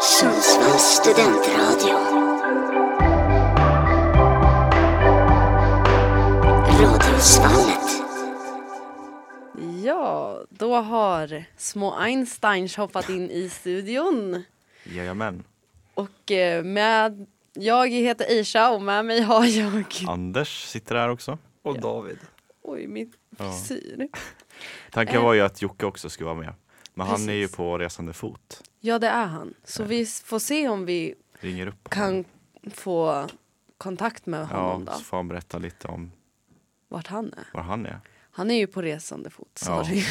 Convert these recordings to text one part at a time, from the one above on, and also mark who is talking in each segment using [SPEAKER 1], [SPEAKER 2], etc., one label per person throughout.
[SPEAKER 1] Sundsvalls studentradio. Radiosvallet.
[SPEAKER 2] Ja, då har små Einsteins hoppat in i studion.
[SPEAKER 3] Jajamän.
[SPEAKER 2] Och eh, med, jag heter Isha och med mig har jag...
[SPEAKER 3] Anders sitter här också.
[SPEAKER 4] Och David.
[SPEAKER 2] Oj, min
[SPEAKER 3] Ja.
[SPEAKER 2] frisyr.
[SPEAKER 3] Tanken
[SPEAKER 2] Eh.
[SPEAKER 3] var ju att Jocke också skulle vara med. Men han är ju
[SPEAKER 2] Precis.
[SPEAKER 3] på resande fot.
[SPEAKER 2] Ja, det är han. Så vi s- får se om vi
[SPEAKER 3] Ringer upp
[SPEAKER 2] kan få kontakt med honom
[SPEAKER 3] honom. Ja,
[SPEAKER 2] då.
[SPEAKER 3] så får han berätta lite om
[SPEAKER 2] Vart han är.
[SPEAKER 3] var han är.
[SPEAKER 2] Han är ju på resande fot,
[SPEAKER 3] Ja.
[SPEAKER 2] sorry.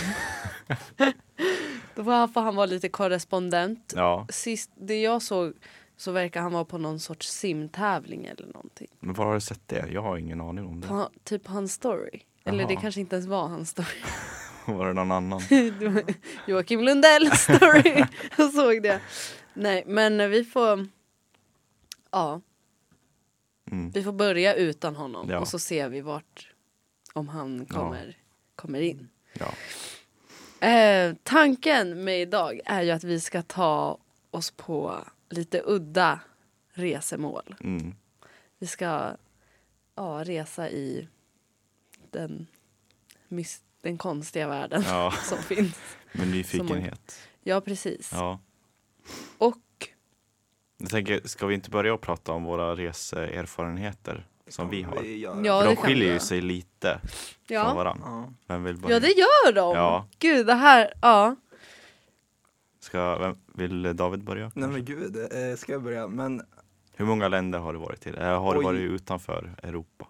[SPEAKER 2] då får han, får han vara lite korrespondent.
[SPEAKER 3] Ja,
[SPEAKER 2] Sist det jag såg så verkar han vara på någon sorts simtävling eller någonting.
[SPEAKER 3] men var har du sett det? Jag har ingen aning om det.
[SPEAKER 2] på, typ hans story. Eller det
[SPEAKER 3] Jaha.
[SPEAKER 2] kanske inte ens var hans story.
[SPEAKER 3] Var det någon annan?
[SPEAKER 2] Det var Joakim Lundells story. Jag såg det. Nej, men vi får... Ja,
[SPEAKER 3] Mm.
[SPEAKER 2] vi får börja utan honom
[SPEAKER 3] Ja.
[SPEAKER 2] och så ser vi vart... Om han kommer, kommer in.
[SPEAKER 3] Ja.
[SPEAKER 2] Eh, tanken med idag är ju att vi ska ta oss på lite udda resemål.
[SPEAKER 3] Mm.
[SPEAKER 2] Vi ska ja, resa i den, mys- den konstiga världen
[SPEAKER 3] ja,
[SPEAKER 2] som finns.
[SPEAKER 3] med nyfikenhet.
[SPEAKER 2] Ja, precis.
[SPEAKER 3] Ja.
[SPEAKER 2] Och
[SPEAKER 3] Jag tänker, ska vi inte börja prata om våra reseerfarenheter som vi har?
[SPEAKER 4] Vi gör-
[SPEAKER 2] Ja,
[SPEAKER 3] För
[SPEAKER 2] det
[SPEAKER 3] de
[SPEAKER 2] kan vi
[SPEAKER 3] skiljer ju
[SPEAKER 2] göra.
[SPEAKER 3] sig lite från
[SPEAKER 2] ja,
[SPEAKER 3] varandra.
[SPEAKER 4] Ja.
[SPEAKER 3] Vem vill börja?
[SPEAKER 2] ja det gör de.
[SPEAKER 3] Ja.
[SPEAKER 2] Gud, det här, ja.
[SPEAKER 3] Ska, vem, vill David börja?
[SPEAKER 4] Nej men gud, eh, ska jag börja? Men
[SPEAKER 3] Hur många länder har du varit till? Eh, har du
[SPEAKER 4] Oj.
[SPEAKER 3] varit utanför Europa?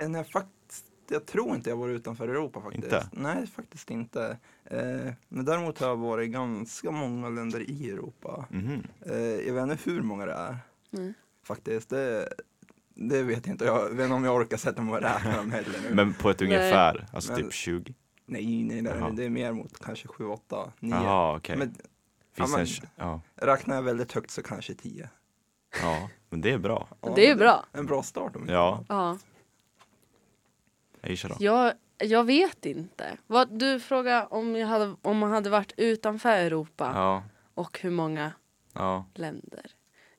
[SPEAKER 4] eh, när jag faktiskt, jag tror inte jag varit utanför Europa faktiskt.
[SPEAKER 3] Inte?
[SPEAKER 4] Nej, faktiskt inte. Eh, men däremot har jag varit i ganska många länder i Europa.
[SPEAKER 3] Mhm.
[SPEAKER 4] Eh, jag vet inte hur många det är.
[SPEAKER 2] Nej.
[SPEAKER 4] Faktiskt, det, det vet jag inte. Jag vet inte om jag orkar sätta mig och räkna dem heller nu.
[SPEAKER 3] Men på ett
[SPEAKER 2] Nej.
[SPEAKER 3] ungefär, alltså
[SPEAKER 4] Men-
[SPEAKER 3] typ 20?
[SPEAKER 4] Nej, nej, nej,
[SPEAKER 3] Jaha.
[SPEAKER 4] nej, det är mer mot kanske 7, 8, 9.
[SPEAKER 3] Jaha okej.
[SPEAKER 4] Men
[SPEAKER 3] Finns
[SPEAKER 4] ja,
[SPEAKER 3] det
[SPEAKER 4] men-
[SPEAKER 3] en tj- ja.
[SPEAKER 4] räknar jag väldigt högt så kanske 10.
[SPEAKER 3] ja, men det är bra.
[SPEAKER 4] Ja,
[SPEAKER 2] Det är ju
[SPEAKER 4] men
[SPEAKER 2] bra.
[SPEAKER 4] En bra start om inte
[SPEAKER 3] Ja,
[SPEAKER 2] ja.
[SPEAKER 3] Aisha då?
[SPEAKER 2] Jag, jag vet inte. Vad, du frågade om, jag hade, om man hade varit utanför Europa
[SPEAKER 3] Ja,
[SPEAKER 2] och hur många
[SPEAKER 3] ja.
[SPEAKER 2] länder.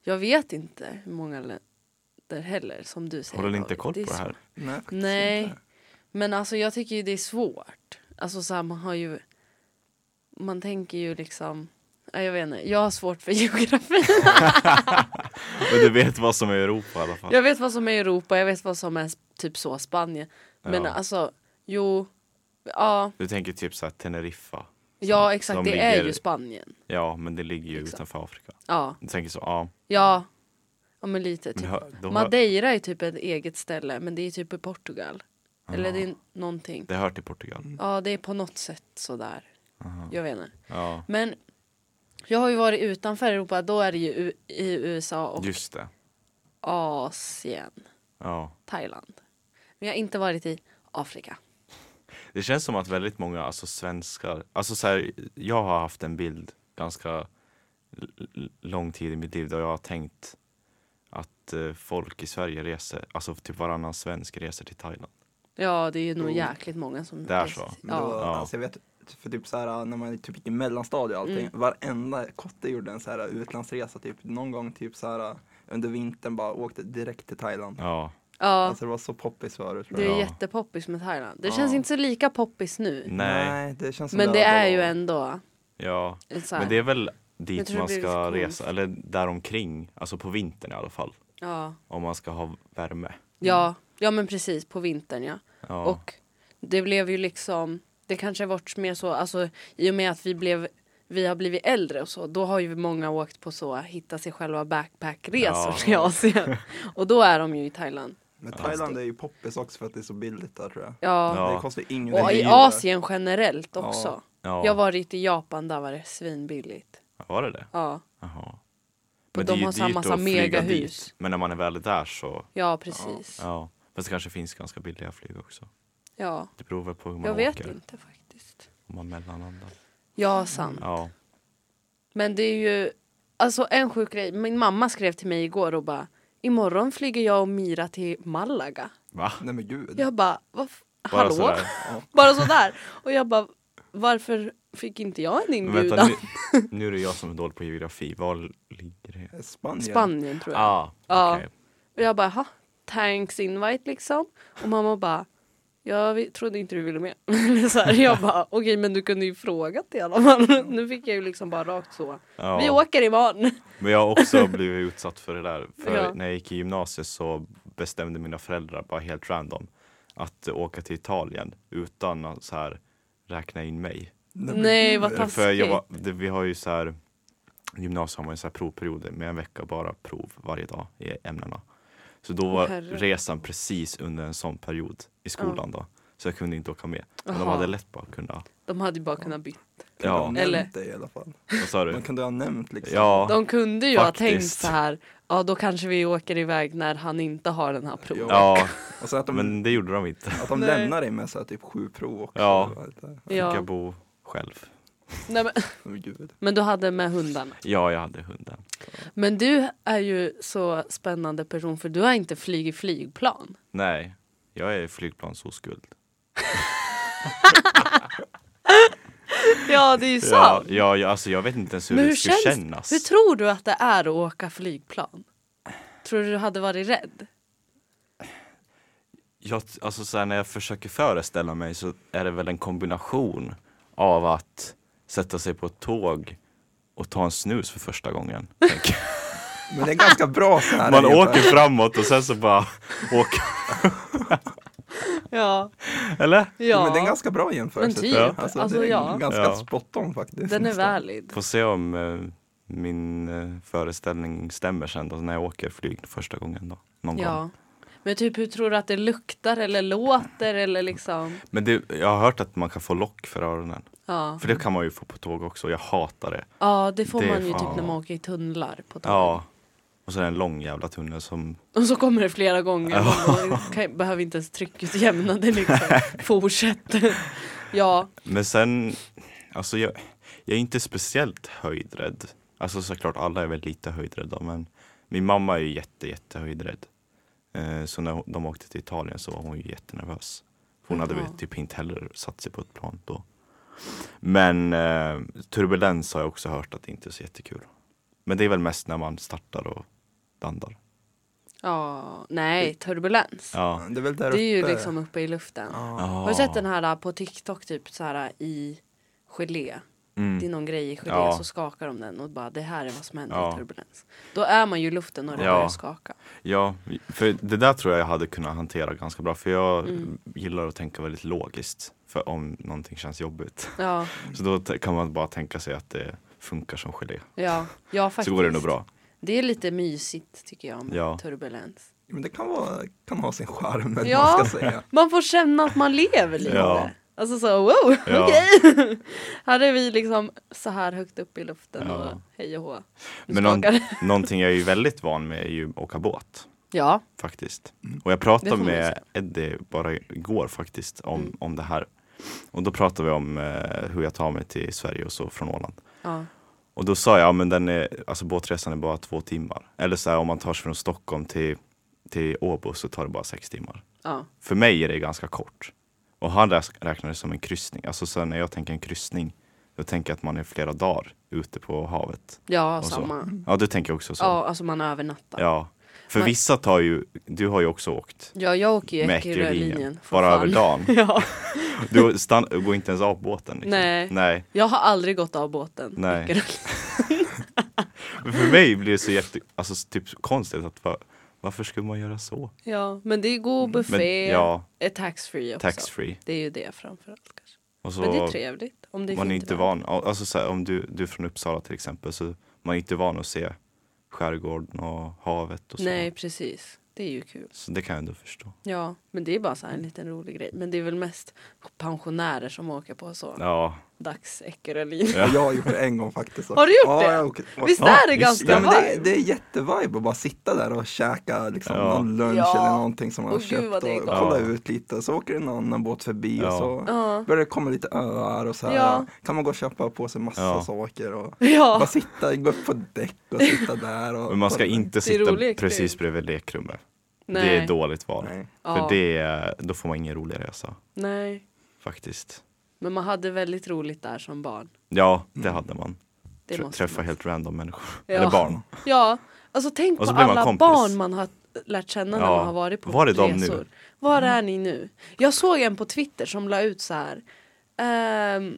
[SPEAKER 2] Jag vet inte hur många länder heller, som du säger.
[SPEAKER 3] Håller ni inte
[SPEAKER 2] David.
[SPEAKER 3] koll på
[SPEAKER 2] är
[SPEAKER 3] det
[SPEAKER 2] svårt.
[SPEAKER 3] här?
[SPEAKER 4] Nej, faktiskt
[SPEAKER 2] Nej.
[SPEAKER 4] inte.
[SPEAKER 2] Men alltså jag tycker ju det är svårt. Alltså så här, man har ju... Man tänker ju liksom... Ja, jag vet inte, jag har svårt för geografi.
[SPEAKER 3] Men du vet vad som är Europa i alla fall?
[SPEAKER 2] Jag vet vad som är Europa, jag vet vad som är typ så Spanien. Men
[SPEAKER 3] Ja.
[SPEAKER 2] alltså, jo... Ja,
[SPEAKER 3] Du tänker typ såhär Teneriffa?
[SPEAKER 2] ja
[SPEAKER 3] Som-
[SPEAKER 2] exakt,
[SPEAKER 3] som
[SPEAKER 2] det är
[SPEAKER 3] ligger-
[SPEAKER 2] ju Spanien.
[SPEAKER 3] Ja, men det ligger ju
[SPEAKER 2] Exakt.
[SPEAKER 3] utanför Afrika.
[SPEAKER 2] Ja,
[SPEAKER 3] Du tänker så, ja.
[SPEAKER 2] ja. Ja men lite
[SPEAKER 3] Men
[SPEAKER 2] typ.
[SPEAKER 3] hör- då hör-
[SPEAKER 2] Madeira är typ ett eget ställe, men det är typ i Portugal. Eller det är någonting.
[SPEAKER 3] Det hör till Portugal.
[SPEAKER 4] Mm.
[SPEAKER 2] Ja, det är på något sätt sådär. Jag vet inte.
[SPEAKER 3] Ja,
[SPEAKER 2] Men jag har ju varit utanför Europa, då är det ju U- i USA och
[SPEAKER 3] just det.
[SPEAKER 2] Asien,
[SPEAKER 3] Ja.
[SPEAKER 2] Thailand. Men jag har inte varit i Afrika.
[SPEAKER 3] Det känns som att väldigt många alltså svenskar, alltså så här, jag har haft en bild ganska l- l- lång tid i mitt liv där jag har tänkt att eh, folk i Sverige reser, alltså typ varannan svensk reser till Thailand.
[SPEAKER 2] Ja, det är ju nog
[SPEAKER 4] Mm.
[SPEAKER 2] jäkligt många som...
[SPEAKER 3] Det är så.
[SPEAKER 4] Men Då,
[SPEAKER 2] Ja.
[SPEAKER 3] Ja.
[SPEAKER 4] alltså, jag vet, för typ så här, när man är typ i mellanstadiet och allting,
[SPEAKER 2] Mm.
[SPEAKER 4] varenda kotte gjorde en så här utlandsresa typ någon gång typ så här under vintern bara åkte direkt till Thailand.
[SPEAKER 3] Ja,
[SPEAKER 2] ja,
[SPEAKER 4] Alltså det var så poppis förut. tror
[SPEAKER 2] det är
[SPEAKER 4] jag.
[SPEAKER 3] Ja.
[SPEAKER 2] jättepoppis med Thailand. Det
[SPEAKER 4] Ja.
[SPEAKER 2] känns inte så lika poppis nu.
[SPEAKER 3] nej,
[SPEAKER 4] det känns som
[SPEAKER 2] Men det
[SPEAKER 4] här
[SPEAKER 2] är ju
[SPEAKER 4] var-
[SPEAKER 2] ändå...
[SPEAKER 3] ja.
[SPEAKER 2] en Så här,
[SPEAKER 3] Men det är väl
[SPEAKER 2] Jag
[SPEAKER 3] dit
[SPEAKER 2] tror det
[SPEAKER 3] man
[SPEAKER 2] blir
[SPEAKER 3] ska
[SPEAKER 2] lite
[SPEAKER 3] resa, eller däromkring, alltså på vintern i alla fall.
[SPEAKER 2] ja.
[SPEAKER 3] Om man ska ha värme.
[SPEAKER 2] Ja, ja, men precis. På vintern, ja.
[SPEAKER 3] Ja,
[SPEAKER 2] Och det blev ju liksom, det kanske varit mer så, alltså i och med att vi blev vi har blivit äldre och så, då har ju många åkt på så hitta sig själva backpackresor
[SPEAKER 3] Ja.
[SPEAKER 2] till Asien. Och då är de ju i Thailand.
[SPEAKER 4] Men Thailand är ju poppis också för att det är så billigt där tror jag.
[SPEAKER 2] Ja.
[SPEAKER 3] Ja.
[SPEAKER 4] Det kostar ingenting.
[SPEAKER 2] Och i
[SPEAKER 4] där.
[SPEAKER 2] Asien generellt också.
[SPEAKER 3] ja.
[SPEAKER 2] Jag har varit i Japan, där var det svinbilligt.
[SPEAKER 3] var det det?
[SPEAKER 2] Ja,
[SPEAKER 3] Jaha.
[SPEAKER 2] de
[SPEAKER 3] det är ju
[SPEAKER 2] har samma
[SPEAKER 3] dyrt att
[SPEAKER 2] som
[SPEAKER 3] flyga
[SPEAKER 2] megahus.
[SPEAKER 3] dit. Men när man är väl där så
[SPEAKER 2] ja precis. Ja.
[SPEAKER 3] Ja, fast det kanske finns ganska billiga flyg också. Det beror väl på hur man
[SPEAKER 2] Jag
[SPEAKER 3] åker.
[SPEAKER 2] vet inte faktiskt.
[SPEAKER 3] Om man mellanlandar.
[SPEAKER 2] Ja, sant.
[SPEAKER 3] Ja,
[SPEAKER 2] Men det är ju alltså en sjuk grej. Min mamma skrev till mig igår och bara imorgon flyger jag och Mira till Malaga.
[SPEAKER 3] va?
[SPEAKER 4] Nej men gud.
[SPEAKER 2] Jag bara, vad f-
[SPEAKER 3] Mm. Bara
[SPEAKER 2] hallå?
[SPEAKER 3] sådär.
[SPEAKER 2] Bara sådär. Och jag bara, varför fick inte jag en
[SPEAKER 3] Men
[SPEAKER 2] inbjudan.
[SPEAKER 3] vänta, nu, nu är det jag som är dålig på geografi. Var ligger det?
[SPEAKER 4] Spanien.
[SPEAKER 2] Spanien tror jag.
[SPEAKER 3] Ah,
[SPEAKER 2] Ja.
[SPEAKER 3] okej.
[SPEAKER 2] Och jag bara, ha, thanks invite liksom. Och mamma bara, jag vi- trodde inte du ville med. så här, jag bara, okej men du kunde ju frågat i alla fall. nu fick jag ju liksom bara rakt så.
[SPEAKER 3] Ja.
[SPEAKER 2] Vi åker imorgon.
[SPEAKER 3] Men jag har också blivit utsatt för det där. För
[SPEAKER 2] Ja.
[SPEAKER 3] när jag gick i gymnasiet så bestämde mina föräldrar bara helt random att eh, åka till Italien utan att så här räkna in mig.
[SPEAKER 2] Nej vad taskigt.
[SPEAKER 3] För jag var, det, vi har ju så här i gymnasiet har man ju så här provperioder med en vecka bara prov varje dag i ämnena. Så då var
[SPEAKER 2] Herre.
[SPEAKER 3] resan precis under en sån period i skolan då. Så jag kunde inte åka med. Men de
[SPEAKER 2] Aha.
[SPEAKER 3] hade lätt bara kunnat.
[SPEAKER 2] De hade ju bara kunnat byta.
[SPEAKER 4] Kunde ha
[SPEAKER 3] Ja,
[SPEAKER 4] nämnt
[SPEAKER 2] Eller-
[SPEAKER 4] det i alla fall.
[SPEAKER 3] vad sa du?
[SPEAKER 4] Man kunde ha nämnt liksom.
[SPEAKER 3] Ja,
[SPEAKER 2] De kunde ju ha tänkt
[SPEAKER 3] faktiskt.
[SPEAKER 2] så här, ja då kanske vi åker iväg när han inte har den här proven. Ja.
[SPEAKER 3] ja,
[SPEAKER 4] Och så att de,
[SPEAKER 3] men det gjorde de inte.
[SPEAKER 4] att de
[SPEAKER 2] Nej.
[SPEAKER 4] lämnar dig med så här, typ sju prov också.
[SPEAKER 3] Ja.
[SPEAKER 4] Det var lite-
[SPEAKER 3] Fick jag bo själv.
[SPEAKER 2] Nej, men,
[SPEAKER 4] Men gud.
[SPEAKER 2] men du hade med hundarna.
[SPEAKER 3] Ja, jag hade hunden.
[SPEAKER 2] Men du är ju så spännande person för du har inte flugit flygplan.
[SPEAKER 3] Nej, jag är flygplansoskuld.
[SPEAKER 2] Ja det är ju sant.
[SPEAKER 3] Ja, ja, ja, alltså jag vet inte ens hur
[SPEAKER 2] Men
[SPEAKER 3] det
[SPEAKER 2] hur,
[SPEAKER 3] skulle
[SPEAKER 2] känns,
[SPEAKER 3] kännas.
[SPEAKER 2] hur tror du att det är att åka flygplan? Tror du du hade varit rädd?
[SPEAKER 3] jag, alltså så här, när jag försöker föreställa mig så är det väl en kombination av att sätta sig på ett tåg och ta en snus för första gången. tänker jag.
[SPEAKER 4] Men det är ganska bra så här.
[SPEAKER 3] Man
[SPEAKER 4] ungefär.
[SPEAKER 3] åker framåt och sen så bara åker,
[SPEAKER 2] Ja.
[SPEAKER 3] eller?
[SPEAKER 2] ja.
[SPEAKER 4] Men det är en ganska bra jämförelse.
[SPEAKER 2] Men typ.
[SPEAKER 4] tror jag. Alltså,
[SPEAKER 2] Alltså,
[SPEAKER 4] det är
[SPEAKER 2] ja.
[SPEAKER 4] ganska
[SPEAKER 3] Ja.
[SPEAKER 4] spot on faktiskt.
[SPEAKER 2] Den är valid.
[SPEAKER 3] Får se om eh, min eh, föreställning stämmer sen då när jag åker flyg första gången då. Någon gång.
[SPEAKER 2] Ja. Men typ hur tror du att det luktar eller låter eller liksom?
[SPEAKER 3] Men det, jag har hört att man kan få lock för öronen.
[SPEAKER 2] Ja,
[SPEAKER 3] För det kan man ju få på tåg också, jag hatar det.
[SPEAKER 2] ja det får
[SPEAKER 3] Det är
[SPEAKER 2] man ju
[SPEAKER 3] fan-
[SPEAKER 2] typ när man åker i tunnlar på tåg.
[SPEAKER 3] Ja. Och så är det en lång jävla tunnel som
[SPEAKER 2] Och så kommer det flera gånger. Man kan, behöver inte ens tryckutjämna det liksom. Fortsätter. Ja,
[SPEAKER 3] Men sen, alltså jag, jag är inte speciellt höjdrädd. Alltså såklart alla är väl lite höjdrädda men min mamma är ju jätte, jätte höjdrädd. Eh, så när hon- de åkte till Italien så var hon ju jättenervös. Hon hade väl
[SPEAKER 2] Jaha.
[SPEAKER 3] typ inte heller satt sig på ett plan då. Men eh, turbulens har jag också hört att det inte är så jättekul. Men det är väl mest när man startar och landar.
[SPEAKER 2] ja, nej, turbulens.
[SPEAKER 3] Ja.
[SPEAKER 4] Det är väl där
[SPEAKER 2] Det är ju
[SPEAKER 4] uppe.
[SPEAKER 2] liksom uppe i luften.
[SPEAKER 4] Ja.
[SPEAKER 2] Har du sett den här äh, på TikTok typ så här äh, i gelé? Det är någon grej i gelé
[SPEAKER 3] Mm. Ja.
[SPEAKER 2] så skakar de den och bara det här är vad som händer
[SPEAKER 3] Ja.
[SPEAKER 2] i turbulens. Då är man ju i luften och det
[SPEAKER 3] Ja.
[SPEAKER 2] börjar skaka.
[SPEAKER 3] Ja, för det där tror jag jag hade kunnat hantera ganska bra för jag
[SPEAKER 2] Mm.
[SPEAKER 3] gillar att tänka väldigt logiskt för om någonting känns jobbigt.
[SPEAKER 2] Ja,
[SPEAKER 3] Så då t- kan man bara tänka sig att det funkar som gelé.
[SPEAKER 2] ja, ja faktiskt.
[SPEAKER 3] Så går det nog bra.
[SPEAKER 2] Det är lite mysigt tycker jag med
[SPEAKER 3] Ja.
[SPEAKER 2] turbulens.
[SPEAKER 4] Men det kan, vara, kan ha sin charm, eller
[SPEAKER 2] Ja.
[SPEAKER 4] vad man ska säga.
[SPEAKER 2] Man får känna att man lever lite.
[SPEAKER 3] Ja.
[SPEAKER 2] Alltså så wow,
[SPEAKER 3] Ja.
[SPEAKER 2] okej. här är vi liksom så här högt upp i luften
[SPEAKER 3] Ja.
[SPEAKER 2] och hej och hå. Nu
[SPEAKER 3] Men
[SPEAKER 2] skakar
[SPEAKER 3] någon,
[SPEAKER 2] det.
[SPEAKER 3] någonting jag är ju väldigt van med är ju att åka båt
[SPEAKER 2] Ja,
[SPEAKER 3] faktiskt. Och jag
[SPEAKER 2] Mm. Det
[SPEAKER 3] pratade
[SPEAKER 2] får man ju
[SPEAKER 3] med
[SPEAKER 2] säga. Mm.
[SPEAKER 3] Eddie bara igår faktiskt om, om det här. Och då pratade vi om eh, hur jag tar mig till Sverige och så från Åland.
[SPEAKER 2] ja,
[SPEAKER 3] Och då sa jag, ja, men den är, alltså båtresan är bara två timmar. Eller så här, om man tar sig från Stockholm till, till Åbo så tar det bara sex timmar.
[SPEAKER 2] ja.
[SPEAKER 3] För mig är det ganska kort. Och han räs- räknar det som en kryssning. Alltså så när jag tänker en kryssning, då tänker jag att man är flera dagar ute på havet.
[SPEAKER 2] ja
[SPEAKER 3] Och så.
[SPEAKER 2] samma.
[SPEAKER 3] Ja, du tänker också så?
[SPEAKER 2] Ja, alltså man övernattar.
[SPEAKER 3] Ja. För
[SPEAKER 2] Men-
[SPEAKER 3] vissa tar ju, du har ju också åkt
[SPEAKER 2] Ja, jag åker ju
[SPEAKER 3] med
[SPEAKER 2] Ekerölinjen.
[SPEAKER 3] Ekerölinjen,
[SPEAKER 2] för
[SPEAKER 3] bara
[SPEAKER 2] fan.
[SPEAKER 3] över dagen.
[SPEAKER 2] Ja.
[SPEAKER 3] Du stann, går inte ens av båten. Liksom.
[SPEAKER 2] Nej.
[SPEAKER 3] Nej.
[SPEAKER 2] Jag har aldrig gått av båten.
[SPEAKER 3] Nej.
[SPEAKER 2] Ekerölinjen.
[SPEAKER 3] Men För mig blir det så jätte, alltså typ konstigt att va- varför skulle man göra så?
[SPEAKER 2] Ja, men det är god buffé,
[SPEAKER 3] Mm. Men, ja.
[SPEAKER 2] är taxfree också.
[SPEAKER 3] Taxfree.
[SPEAKER 2] Det är ju det framförallt kanske.
[SPEAKER 3] Och så
[SPEAKER 2] Men det är trevligt. Om det är
[SPEAKER 3] man är
[SPEAKER 2] fint
[SPEAKER 3] inte
[SPEAKER 2] väder.
[SPEAKER 3] van, ja, alltså så här, om du, du är från Uppsala till exempel så man är inte van att se skärgården och havet och så.
[SPEAKER 2] Nej, precis. Det är ju kul.
[SPEAKER 3] Så det kan jag ändå förstå.
[SPEAKER 2] Ja, men det är bara så här en liten rolig grej. Men det är väl mest pensionärer som åker på så.
[SPEAKER 3] Ja,
[SPEAKER 2] Dags Ekerölinjen.
[SPEAKER 4] Ja. Jag har gjort det en gång faktiskt.
[SPEAKER 2] Har du gjort
[SPEAKER 4] ja,
[SPEAKER 2] det?
[SPEAKER 4] Jag har åkt-
[SPEAKER 2] Visst
[SPEAKER 3] Ja,
[SPEAKER 2] är det
[SPEAKER 3] just
[SPEAKER 2] ganska
[SPEAKER 4] Ja, men det,
[SPEAKER 2] varmt?
[SPEAKER 4] det är jättevibe att bara sitta där och käka liksom,
[SPEAKER 3] Ja.
[SPEAKER 4] någon lunch
[SPEAKER 2] Ja.
[SPEAKER 4] eller någonting som man har
[SPEAKER 2] Åh, gud,
[SPEAKER 4] köpt
[SPEAKER 2] vad
[SPEAKER 4] och
[SPEAKER 2] det är gott.
[SPEAKER 4] kolla
[SPEAKER 3] Ja.
[SPEAKER 4] ut lite. Så åker en annan båt förbi och
[SPEAKER 3] Ja.
[SPEAKER 4] så
[SPEAKER 2] Ja.
[SPEAKER 4] börjar det komma lite öar och så här.
[SPEAKER 2] Ja.
[SPEAKER 4] kan man gå och köpa på sig massa
[SPEAKER 3] Ja.
[SPEAKER 4] saker och
[SPEAKER 2] Ja.
[SPEAKER 4] bara sitta, gå upp på däck och sitta där. Och,
[SPEAKER 3] men man ska
[SPEAKER 4] och,
[SPEAKER 3] inte
[SPEAKER 2] Det är
[SPEAKER 3] sitta
[SPEAKER 2] rolig
[SPEAKER 3] precis
[SPEAKER 2] experience.
[SPEAKER 3] bredvid lekrummet.
[SPEAKER 2] Nej.
[SPEAKER 3] Det är dåligt val.
[SPEAKER 4] Nej.
[SPEAKER 2] Ja.
[SPEAKER 3] För det, är- då får man ingen rolig resa
[SPEAKER 2] Nej.
[SPEAKER 3] faktiskt.
[SPEAKER 2] Men man hade väldigt roligt där som barn.
[SPEAKER 3] Ja, det hade man.
[SPEAKER 2] Det
[SPEAKER 3] Tr-
[SPEAKER 2] måste
[SPEAKER 3] träffa
[SPEAKER 2] man.
[SPEAKER 3] helt random människor.
[SPEAKER 2] Ja.
[SPEAKER 3] Eller barn.
[SPEAKER 2] Ja, alltså tänk på
[SPEAKER 3] Och så blir man
[SPEAKER 2] alla
[SPEAKER 3] kompis.
[SPEAKER 2] barn man har lärt känna när
[SPEAKER 3] Ja,
[SPEAKER 2] man har varit på
[SPEAKER 3] var är de
[SPEAKER 2] resor.
[SPEAKER 3] nu?
[SPEAKER 2] Var är ni nu? Jag såg en på Twitter som la ut så här. ehm,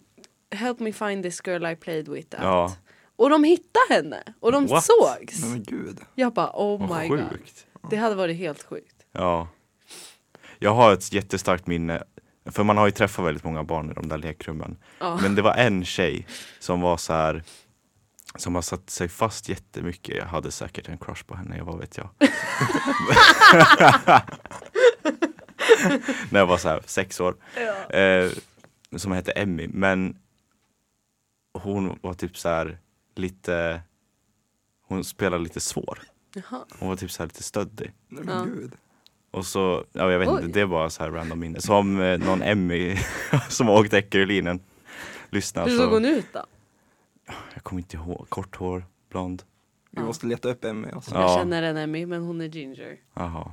[SPEAKER 2] Help me find this girl I played with. at."
[SPEAKER 3] Ja.
[SPEAKER 2] Och de hittade henne och de
[SPEAKER 3] What?
[SPEAKER 2] sågs.
[SPEAKER 4] Men gud.
[SPEAKER 2] Jag bara oh
[SPEAKER 3] Vad
[SPEAKER 2] my god.
[SPEAKER 3] sjukt.
[SPEAKER 2] Det hade varit helt sjukt.
[SPEAKER 3] Ja. Jag har ett jättestarkt minne. För man har ju träffat väldigt många barn i de där lekrummen.
[SPEAKER 2] Ja.
[SPEAKER 3] Men det var en tjej som var så här som har satt sig fast jättemycket. Jag hade säkert en crush på henne, vad vet jag. När jag var så här sex år. Eh, som hette Emmy. Men hon var typ så här lite, hon spelade lite svår.
[SPEAKER 2] Jaha.
[SPEAKER 3] Hon var typ så här lite stöddig.
[SPEAKER 4] Nej,
[SPEAKER 2] Ja.
[SPEAKER 4] men gud.
[SPEAKER 3] Och så, ja jag vet
[SPEAKER 2] Oj.
[SPEAKER 3] inte, det är bara så här random minne. Som eh, någon Emmy som har åkt Eckerölinen lyssnar.
[SPEAKER 2] Hur såg hon ut då?
[SPEAKER 3] Jag kommer inte ihåg, kort hår, blond.
[SPEAKER 4] Vi
[SPEAKER 2] Ja.
[SPEAKER 4] måste leta upp Emmy. Alltså.
[SPEAKER 3] Ja.
[SPEAKER 2] Jag känner en Emmy men hon är ginger.
[SPEAKER 3] Jaha.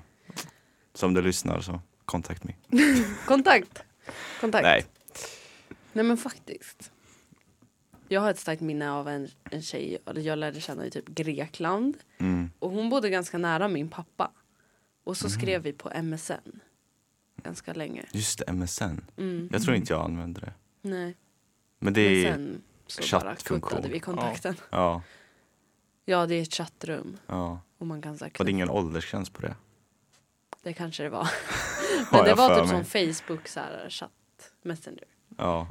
[SPEAKER 3] Som du lyssnar så, contact me.
[SPEAKER 2] Kontakt! Kontakt.
[SPEAKER 3] Nej.
[SPEAKER 2] Nej men faktiskt. Jag har ett starkt minne av en, en tjej, eller jag lärde känna i typ Grekland.
[SPEAKER 3] Mm.
[SPEAKER 2] Och hon bodde ganska nära min pappa. Och så skrev vi på MSN. Ganska länge.
[SPEAKER 3] Just det, MSN.
[SPEAKER 2] Mm.
[SPEAKER 3] Jag tror inte jag använder det.
[SPEAKER 2] Nej.
[SPEAKER 3] Men det
[SPEAKER 2] Men
[SPEAKER 3] är,
[SPEAKER 2] sen så bara
[SPEAKER 3] chattfunktion.
[SPEAKER 2] kuttade vi kontakten. Ja.
[SPEAKER 3] ja,
[SPEAKER 2] det är ett chattrum.
[SPEAKER 3] ja.
[SPEAKER 2] Och man kan säkert...
[SPEAKER 3] Var det ingen åldersgräns på det?
[SPEAKER 2] Det kanske det var.
[SPEAKER 3] Har
[SPEAKER 2] Men det
[SPEAKER 3] jag
[SPEAKER 2] var
[SPEAKER 3] för
[SPEAKER 2] typ som
[SPEAKER 3] mig.
[SPEAKER 2] Facebook så här, chatt messenger.
[SPEAKER 3] Ja.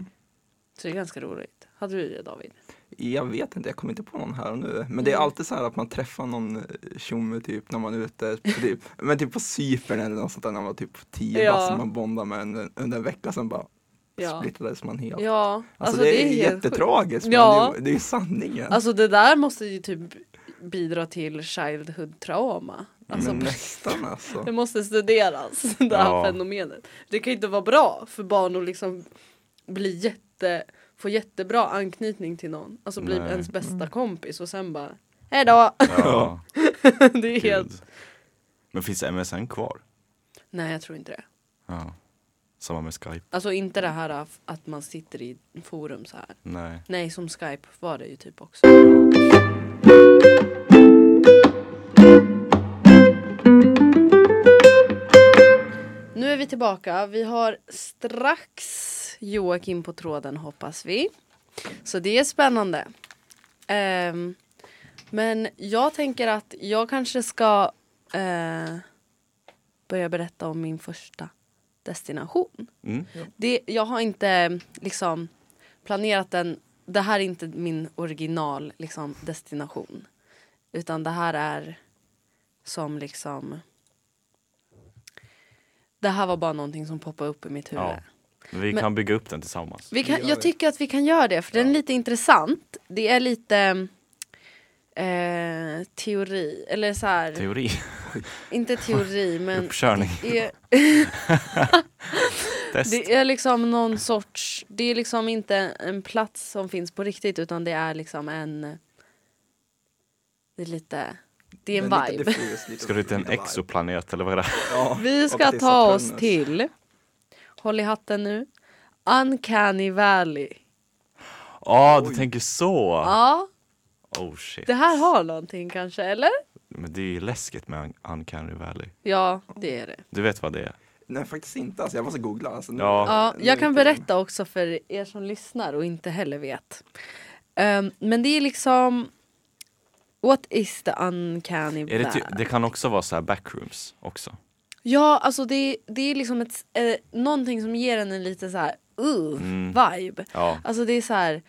[SPEAKER 2] Så det är ganska roligt. Hade du det David?
[SPEAKER 4] Jag vet inte, jag kommer inte på någon här och nu. Men det är alltid så här att man träffar någon eh, tjomme typ när man är ute, på typ, men typ på Cypern eller något sånt där när man var typ tio
[SPEAKER 2] Ja.
[SPEAKER 4] bast som man bondade med under, under en vecka sen bara
[SPEAKER 2] Ja.
[SPEAKER 4] splittades man helt.
[SPEAKER 2] Ja, alltså,
[SPEAKER 4] Alltså, det, är,
[SPEAKER 2] helt sjukt.
[SPEAKER 4] jättetragiskt
[SPEAKER 2] Ja.
[SPEAKER 4] men det, är- det är ju sanningen.
[SPEAKER 2] Alltså det där måste ju typ bidra till childhood trauma. Alltså
[SPEAKER 4] men nästan alltså.
[SPEAKER 2] det måste studeras det här
[SPEAKER 3] Ja.
[SPEAKER 2] fenomenet. Det kan ju inte vara bra för barn att liksom bli jätte, få jättebra anknytning till någon. Alltså bli
[SPEAKER 3] Nej. Mm.
[SPEAKER 2] ens bästa kompis och sen bara hejdå.
[SPEAKER 3] Ja,
[SPEAKER 2] det är helt...
[SPEAKER 3] gud. Men finns MSN kvar?
[SPEAKER 2] Nej jag tror inte det.
[SPEAKER 3] Ja. Samma med Skype?
[SPEAKER 2] Alltså inte det här af- att man sitter i forum så här.
[SPEAKER 3] Nej.
[SPEAKER 2] Nej som Skype var det ju typ också. Nu är vi tillbaka. Vi har strax Joakim på tråden hoppas vi. Så det är spännande. Ehm, men jag tänker att jag kanske ska eh, börja berätta om min första destination.
[SPEAKER 3] Mm.
[SPEAKER 2] Det, jag har inte liksom planerat den. Det här är inte min original liksom, destination. Utan det här är som liksom... Det här var bara någonting som poppade upp i mitt huvud.
[SPEAKER 3] Ja. Vi
[SPEAKER 2] Men-
[SPEAKER 3] kan bygga upp den tillsammans.
[SPEAKER 2] Vi kan,
[SPEAKER 4] gör
[SPEAKER 2] jag
[SPEAKER 4] det.
[SPEAKER 2] tycker att vi kan göra det, för den är lite intressant. Det är lite eh, teori, eller så här,
[SPEAKER 3] Teori.
[SPEAKER 2] inte teori men
[SPEAKER 3] Uppkörning.
[SPEAKER 2] det är,
[SPEAKER 3] Test.
[SPEAKER 2] Det är liksom någon sorts, det är liksom inte en plats som finns på riktigt utan det är liksom en, det är lite, det är en
[SPEAKER 4] Det lite
[SPEAKER 2] vibe.
[SPEAKER 4] diffus, lite-
[SPEAKER 3] Ska du till en
[SPEAKER 4] lite vibe.
[SPEAKER 3] exoplanet eller vad är det?
[SPEAKER 4] Ja,
[SPEAKER 2] Vi
[SPEAKER 4] och
[SPEAKER 2] ska
[SPEAKER 4] till
[SPEAKER 2] ta oss
[SPEAKER 4] Saturnus.
[SPEAKER 2] till, håll i hatten nu, Uncanny Valley.
[SPEAKER 3] Ja, Ah, du tänker så!
[SPEAKER 2] Ja,
[SPEAKER 3] Oh shit.
[SPEAKER 2] Ah. det här har någonting kanske, eller?
[SPEAKER 3] Men det är ju läskigt med Un- Uncanny Valley.
[SPEAKER 2] Ja, det är det.
[SPEAKER 3] Du vet vad det är?
[SPEAKER 4] Nej faktiskt inte alltså, jag måste googla. Alltså, nu-
[SPEAKER 3] Ja.
[SPEAKER 2] Ja,
[SPEAKER 4] nu-
[SPEAKER 2] jag kan berätta också för er som lyssnar och inte heller vet. Ehm, men det är liksom... What is the uncanny
[SPEAKER 3] är det, typ-
[SPEAKER 2] valley?
[SPEAKER 3] ty- det kan också vara så här backrooms också.
[SPEAKER 2] Ja, alltså det, det är liksom ett, eh, någonting som ger en en lite så här uh, vibe.
[SPEAKER 3] Mm. Ja.
[SPEAKER 2] Alltså det är så här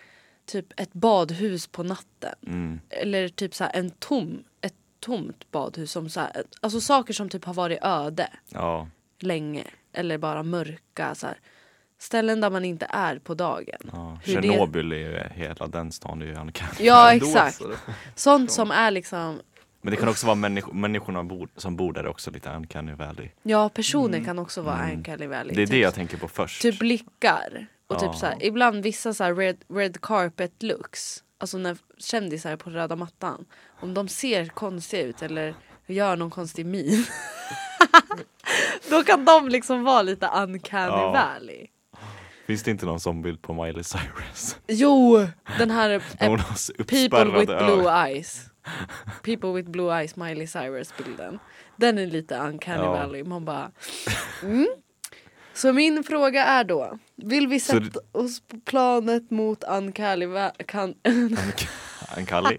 [SPEAKER 2] typ ett badhus på natten.
[SPEAKER 3] Mm.
[SPEAKER 2] Eller typ så här en tom, ett tomt badhus. Som så här, alltså saker som typ har varit öde
[SPEAKER 3] Ja.
[SPEAKER 2] länge. Eller bara mörka. Så här. Ställen där man inte är på dagen.
[SPEAKER 3] ja.
[SPEAKER 2] Hur det-
[SPEAKER 3] Tjernobyl är ju hela den stan, det är ju Uncanny.
[SPEAKER 2] Ja
[SPEAKER 4] Då
[SPEAKER 2] exakt.
[SPEAKER 4] så.
[SPEAKER 2] Sånt som är liksom
[SPEAKER 3] Men det kan också vara människo- människorna bor, som bor där också lite Uncanny Valley.
[SPEAKER 2] Ja personer kan också vara uncanny valley.
[SPEAKER 3] Mm. Det är
[SPEAKER 2] typ,
[SPEAKER 3] det jag tänker på först.
[SPEAKER 2] typ blickar. Och
[SPEAKER 3] Ja.
[SPEAKER 2] typ så här, ibland vissa så här red, red carpet looks. Alltså när kändisar på röda mattan. Om de ser konstiga ut eller gör någon konstig min. då kan de liksom vara lite uncanny
[SPEAKER 3] Ja.
[SPEAKER 2] valley.
[SPEAKER 3] Finns det inte någon sån bild på Miley Cyrus?
[SPEAKER 2] Jo! Den här
[SPEAKER 3] När
[SPEAKER 2] eh,
[SPEAKER 3] hon har så
[SPEAKER 2] People with
[SPEAKER 3] uppspärrade
[SPEAKER 2] blue
[SPEAKER 3] ögon.
[SPEAKER 2] eyes. People with blue eyes, Miley Cyrus bilden. Den är lite uncanny
[SPEAKER 3] Ja.
[SPEAKER 2] valley. Man bara... Mm. Så min fråga är då, vill vi
[SPEAKER 3] Så
[SPEAKER 2] sätta oss på planet mot uncanny, va- kan,
[SPEAKER 3] En Kalli.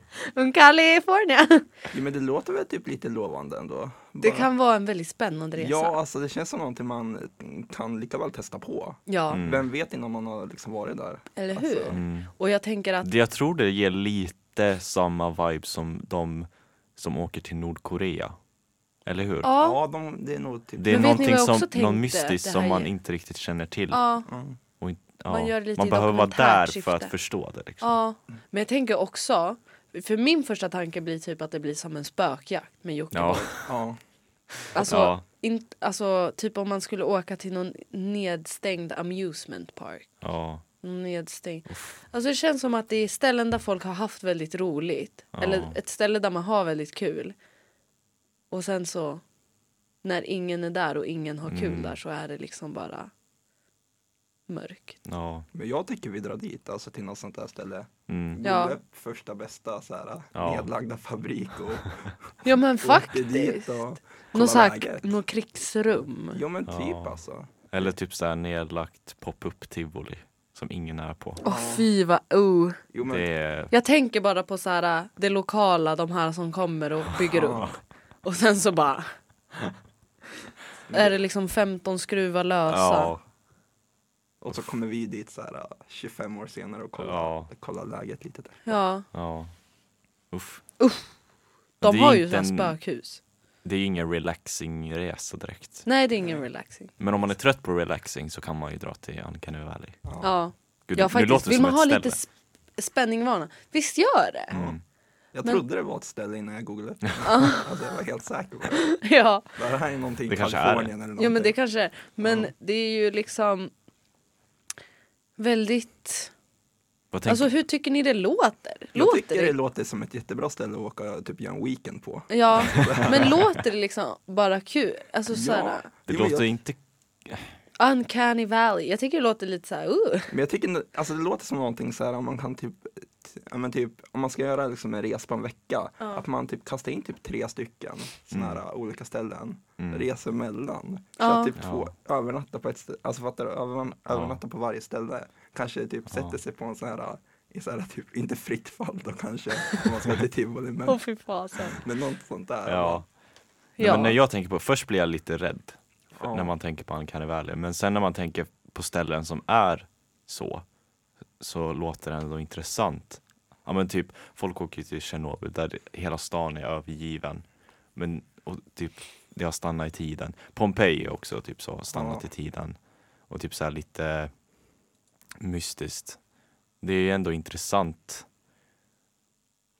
[SPEAKER 2] California?
[SPEAKER 4] Jo, men det låter väl typ lite lovande ändå.
[SPEAKER 2] Det
[SPEAKER 4] Bara-
[SPEAKER 2] kan vara en väldigt spännande resa.
[SPEAKER 4] Ja, alltså det känns som någonting man mm, kan lika väl testa på.
[SPEAKER 2] Ja,
[SPEAKER 3] Mm.
[SPEAKER 4] Vem vet innan man har liksom varit där?
[SPEAKER 2] eller hur?
[SPEAKER 4] Alltså,
[SPEAKER 3] Mm.
[SPEAKER 2] Och jag tänker att,
[SPEAKER 3] Det- Jag tror det ger lite samma vibe som de som åker till Nordkorea. Eller hur?
[SPEAKER 2] ja,
[SPEAKER 4] Ja, de, det är nog typ
[SPEAKER 3] Det är
[SPEAKER 2] Men vet ni vad
[SPEAKER 3] någonting
[SPEAKER 2] jag
[SPEAKER 3] som,
[SPEAKER 2] också tänkte?
[SPEAKER 3] någon mystiskt
[SPEAKER 2] Det här
[SPEAKER 3] som man
[SPEAKER 2] är-
[SPEAKER 3] inte riktigt känner till.
[SPEAKER 2] ja,
[SPEAKER 4] Mm.
[SPEAKER 3] Och in- ja.
[SPEAKER 2] Man gör det lite
[SPEAKER 3] man
[SPEAKER 2] i
[SPEAKER 3] behöver vara där
[SPEAKER 2] dokumentärt
[SPEAKER 3] för att
[SPEAKER 2] syfte.
[SPEAKER 3] förstå det. Liksom.
[SPEAKER 2] ja. Men jag tänker också, för min första tanke blir typ att det blir som en spökjakt med Jockiboi.
[SPEAKER 3] Ja.
[SPEAKER 4] Ja,
[SPEAKER 2] Alltså,
[SPEAKER 3] Ja.
[SPEAKER 2] in, alltså typ om man skulle åka till någon nedstängd amusement park.
[SPEAKER 3] Ja.
[SPEAKER 2] Någon Nedstängd. Alltså det känns som att det är ställen där folk har haft väldigt roligt.
[SPEAKER 3] Ja.
[SPEAKER 2] Eller ett ställe där man har väldigt kul. Och sen så när ingen är där och ingen har kul
[SPEAKER 3] Mm.
[SPEAKER 2] där så är det liksom bara mörkt.
[SPEAKER 3] Ja.
[SPEAKER 4] men jag tycker vi drar dit, alltså till något sånt där ställe.
[SPEAKER 3] Mm.
[SPEAKER 2] Ja.
[SPEAKER 4] Googla upp första bästa så här,
[SPEAKER 3] Ja.
[SPEAKER 4] nedlagda fabrik och
[SPEAKER 2] Ja men
[SPEAKER 4] åker dit
[SPEAKER 2] faktiskt.
[SPEAKER 4] och
[SPEAKER 2] Någon,
[SPEAKER 4] kolla
[SPEAKER 2] så här,
[SPEAKER 4] läget.
[SPEAKER 2] någon krigsrum.
[SPEAKER 4] Jo men typ
[SPEAKER 3] Ja.
[SPEAKER 4] alltså.
[SPEAKER 3] Eller typ så här nedlagt pop-up tivoli som ingen är på.
[SPEAKER 2] Åh fy vad oh.
[SPEAKER 4] Jo, men,
[SPEAKER 3] Det är...
[SPEAKER 2] Jag tänker bara på så här, äh, det lokala, de här som kommer och bygger upp. Och sen så bara... Är det liksom 15 skruvar lösa?
[SPEAKER 3] Ja.
[SPEAKER 4] Och så kommer vi dit så här, 25 år senare och kollar,
[SPEAKER 3] Ja.
[SPEAKER 4] kollar läget lite där.
[SPEAKER 2] Ja,
[SPEAKER 3] ja. Uff.
[SPEAKER 2] De
[SPEAKER 3] Det är
[SPEAKER 2] har ju
[SPEAKER 3] inte
[SPEAKER 2] sådana
[SPEAKER 3] en-
[SPEAKER 2] spökhus.
[SPEAKER 3] Det är ju ingen relaxing resa direkt.
[SPEAKER 2] Nej, det är ingen relaxing.
[SPEAKER 3] Men om man är trött på relaxing så kan man ju dra till Uncanny Valley.
[SPEAKER 2] Ja,
[SPEAKER 3] Gud,
[SPEAKER 2] ja
[SPEAKER 3] nu
[SPEAKER 2] faktiskt.
[SPEAKER 3] låter det
[SPEAKER 2] Vill
[SPEAKER 3] som
[SPEAKER 2] man
[SPEAKER 3] ett
[SPEAKER 2] ha
[SPEAKER 3] ställe.
[SPEAKER 2] lite sp- spänning i vardagen? Visst gör det?
[SPEAKER 3] Mm.
[SPEAKER 4] Jag
[SPEAKER 2] Men-
[SPEAKER 4] trodde det var ett ställe innan jag googlade upp det. alltså, jag var helt säker på det.
[SPEAKER 2] Ja.
[SPEAKER 4] Det här är någonting
[SPEAKER 3] Det
[SPEAKER 4] i
[SPEAKER 3] kanske är
[SPEAKER 4] Kalifornien eller någonting.
[SPEAKER 2] ja, men det kanske är. Men det är ju liksom väldigt...
[SPEAKER 3] Vad tänker
[SPEAKER 2] Alltså hur tycker ni det låter?
[SPEAKER 4] jag
[SPEAKER 2] Låter
[SPEAKER 4] tycker det?
[SPEAKER 2] det? Alltså,
[SPEAKER 4] låter som ett jättebra ställe att åka typ göra en weekend på.
[SPEAKER 2] Ja, men låter det liksom bara kul? Alltså såhär...
[SPEAKER 3] Det
[SPEAKER 4] Jo, men
[SPEAKER 3] låter
[SPEAKER 4] jag,
[SPEAKER 3] inte...
[SPEAKER 2] Uncanny Valley. Jag tycker det låter lite såhär... Uh.
[SPEAKER 4] men jag tycker, alltså det låter som någonting så här om man kan typ, ja, men typ om man ska göra liksom en resa på en vecka, att man typ kastar in typ tre stycken sådana
[SPEAKER 3] Mm.
[SPEAKER 4] här äh, olika ställen, reser mellan. Så
[SPEAKER 2] Ja.
[SPEAKER 4] att typ två, övernatta på ett ställe, alltså fattar du, Över, övernatta på varje ställe. Kanske typ sätter sig på en sån här, äh, i så här typ, inte fritt fall då kanske, om man ska till tivoli, men,
[SPEAKER 2] Åh fy fasen.
[SPEAKER 4] men något sånt där.
[SPEAKER 3] Ja. Nej,
[SPEAKER 2] Ja.
[SPEAKER 3] Men när jag tänker på... Först blir jag lite rädd för-
[SPEAKER 4] Ja.
[SPEAKER 3] när man tänker på Uncanny Valley. Men sen när man tänker på ställen som är så, så låter det ändå intressant. Ja men typ, folk åker ju till Tjernobyl där det- hela stan är övergiven. Men och typ, det har stannat i tiden. Pompeji också typ så, har stannat
[SPEAKER 4] Ja.
[SPEAKER 3] i tiden. Och typ så här lite mystiskt. Det är ju ändå intressant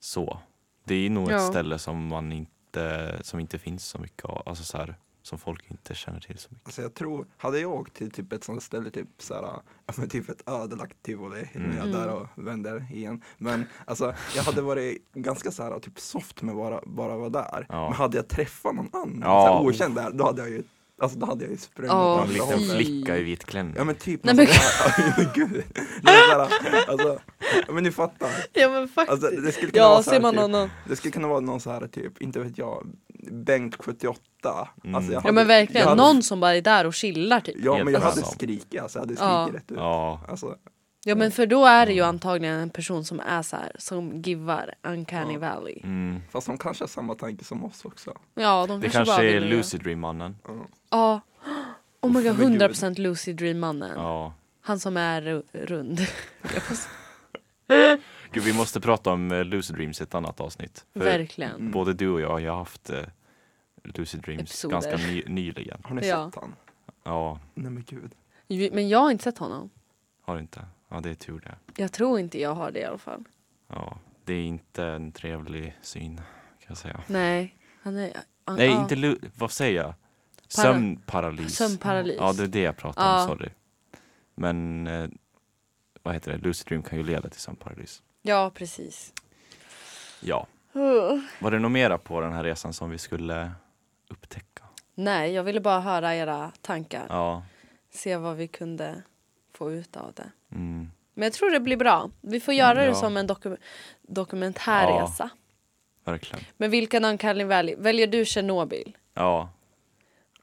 [SPEAKER 3] så. Det är nog
[SPEAKER 2] Ja.
[SPEAKER 3] ett ställe som man inte, som inte finns så mycket av, alltså så här, som folk inte känner till så mycket.
[SPEAKER 4] Alltså jag tror, hade jag åkt till typ ett sånt ställe, typ såhär, ja men typ ett ödelagt tivoli, nu
[SPEAKER 2] Mm.
[SPEAKER 4] är jag där och vänder igen. Men alltså jag hade varit ganska såhär typ soft med bara, bara vara där.
[SPEAKER 3] Ja.
[SPEAKER 4] Men hade jag träffat någon annan,
[SPEAKER 3] Ja.
[SPEAKER 4] såhär, okänd där, då hade jag ju, alltså då hade jag ju sprungit
[SPEAKER 2] Ja,
[SPEAKER 4] åt
[SPEAKER 3] En
[SPEAKER 4] andra
[SPEAKER 2] fy.
[SPEAKER 3] liten
[SPEAKER 4] hållet.
[SPEAKER 3] flicka i vit klänning.
[SPEAKER 4] Ja men typ,
[SPEAKER 2] Nej,
[SPEAKER 4] Nej,
[SPEAKER 2] men-
[SPEAKER 4] men... gud. Det är såhär, alltså, ja, men ni fattar.
[SPEAKER 2] Ja men faktiskt.
[SPEAKER 4] Alltså, det skulle kunna
[SPEAKER 2] ja,
[SPEAKER 4] vara så här
[SPEAKER 2] ser man
[SPEAKER 4] typ,
[SPEAKER 2] någon annan.
[SPEAKER 4] Det skulle kunna vara någon så här typ, inte vet jag, Bengt 78. Alltså, jag
[SPEAKER 2] Mm. Ja men
[SPEAKER 4] jag
[SPEAKER 2] verkligen,
[SPEAKER 4] hade-
[SPEAKER 2] någon som bara är där och chillar typ.
[SPEAKER 4] Ja
[SPEAKER 3] Helt
[SPEAKER 4] men jag hade
[SPEAKER 3] ensam.
[SPEAKER 4] skrikit alltså, jag hade skrikit
[SPEAKER 2] Ja.
[SPEAKER 4] rätt ut.
[SPEAKER 3] Ja,
[SPEAKER 4] Alltså,
[SPEAKER 2] Ja men för då är det ju antagligen en person som är så här, som givar Uncanny Valley.
[SPEAKER 3] mm.
[SPEAKER 4] fast de kanske har samma tanke som oss också.
[SPEAKER 2] Ja de
[SPEAKER 3] Det
[SPEAKER 2] kanske, bara
[SPEAKER 3] kanske är
[SPEAKER 2] vill göra-
[SPEAKER 3] Lucid Dream-mannen.
[SPEAKER 2] Ja. Oh my god,
[SPEAKER 4] men gud.
[SPEAKER 2] 100% Lucy Dream mannen.
[SPEAKER 3] Ja.
[SPEAKER 2] Han som är ru- rund.
[SPEAKER 3] Gud, vi måste prata om eh, Lucid Dreams i ett annat avsnitt. För
[SPEAKER 2] Verkligen.
[SPEAKER 3] Både du och jag har ju haft eh, Lucid Dreams
[SPEAKER 2] Episoder.
[SPEAKER 3] ganska ny, nyligen.
[SPEAKER 4] Har ni
[SPEAKER 2] Ja.
[SPEAKER 4] sett han?
[SPEAKER 3] Ja,
[SPEAKER 4] Nej men gud.
[SPEAKER 2] Ju- Men jag har inte sett honom.
[SPEAKER 3] har du inte? Ja, det är tur det.
[SPEAKER 2] Jag tror inte jag har det i alla fall.
[SPEAKER 3] Ja, det är inte en trevlig syn kan jag säga.
[SPEAKER 2] Nej. Han är, han,
[SPEAKER 3] Nej,
[SPEAKER 2] ja.
[SPEAKER 3] inte lu... Vad säger jag? Sömnparalys.
[SPEAKER 2] Sömnparalys.
[SPEAKER 3] Ja, det är det jag pratar om,
[SPEAKER 2] Ja.
[SPEAKER 3] sorry. Men eh, vad heter det? Lucid Dream kan ju leda till sömnparalys.
[SPEAKER 2] Ja precis.
[SPEAKER 3] Ja. Var det något mera på den här resan som vi skulle upptäcka?
[SPEAKER 2] Nej, jag ville bara höra era tankar.
[SPEAKER 3] Ja.
[SPEAKER 2] Se vad vi kunde få ut av det.
[SPEAKER 3] Mm.
[SPEAKER 2] Men jag tror det blir bra. Vi får göra det
[SPEAKER 3] Ja.
[SPEAKER 2] som en doku- dokumentär
[SPEAKER 3] Ja.
[SPEAKER 2] resa.
[SPEAKER 3] Verkligen.
[SPEAKER 2] Men vilka namn kan ni välja? Väljer du Tjernobyl?
[SPEAKER 3] Ja.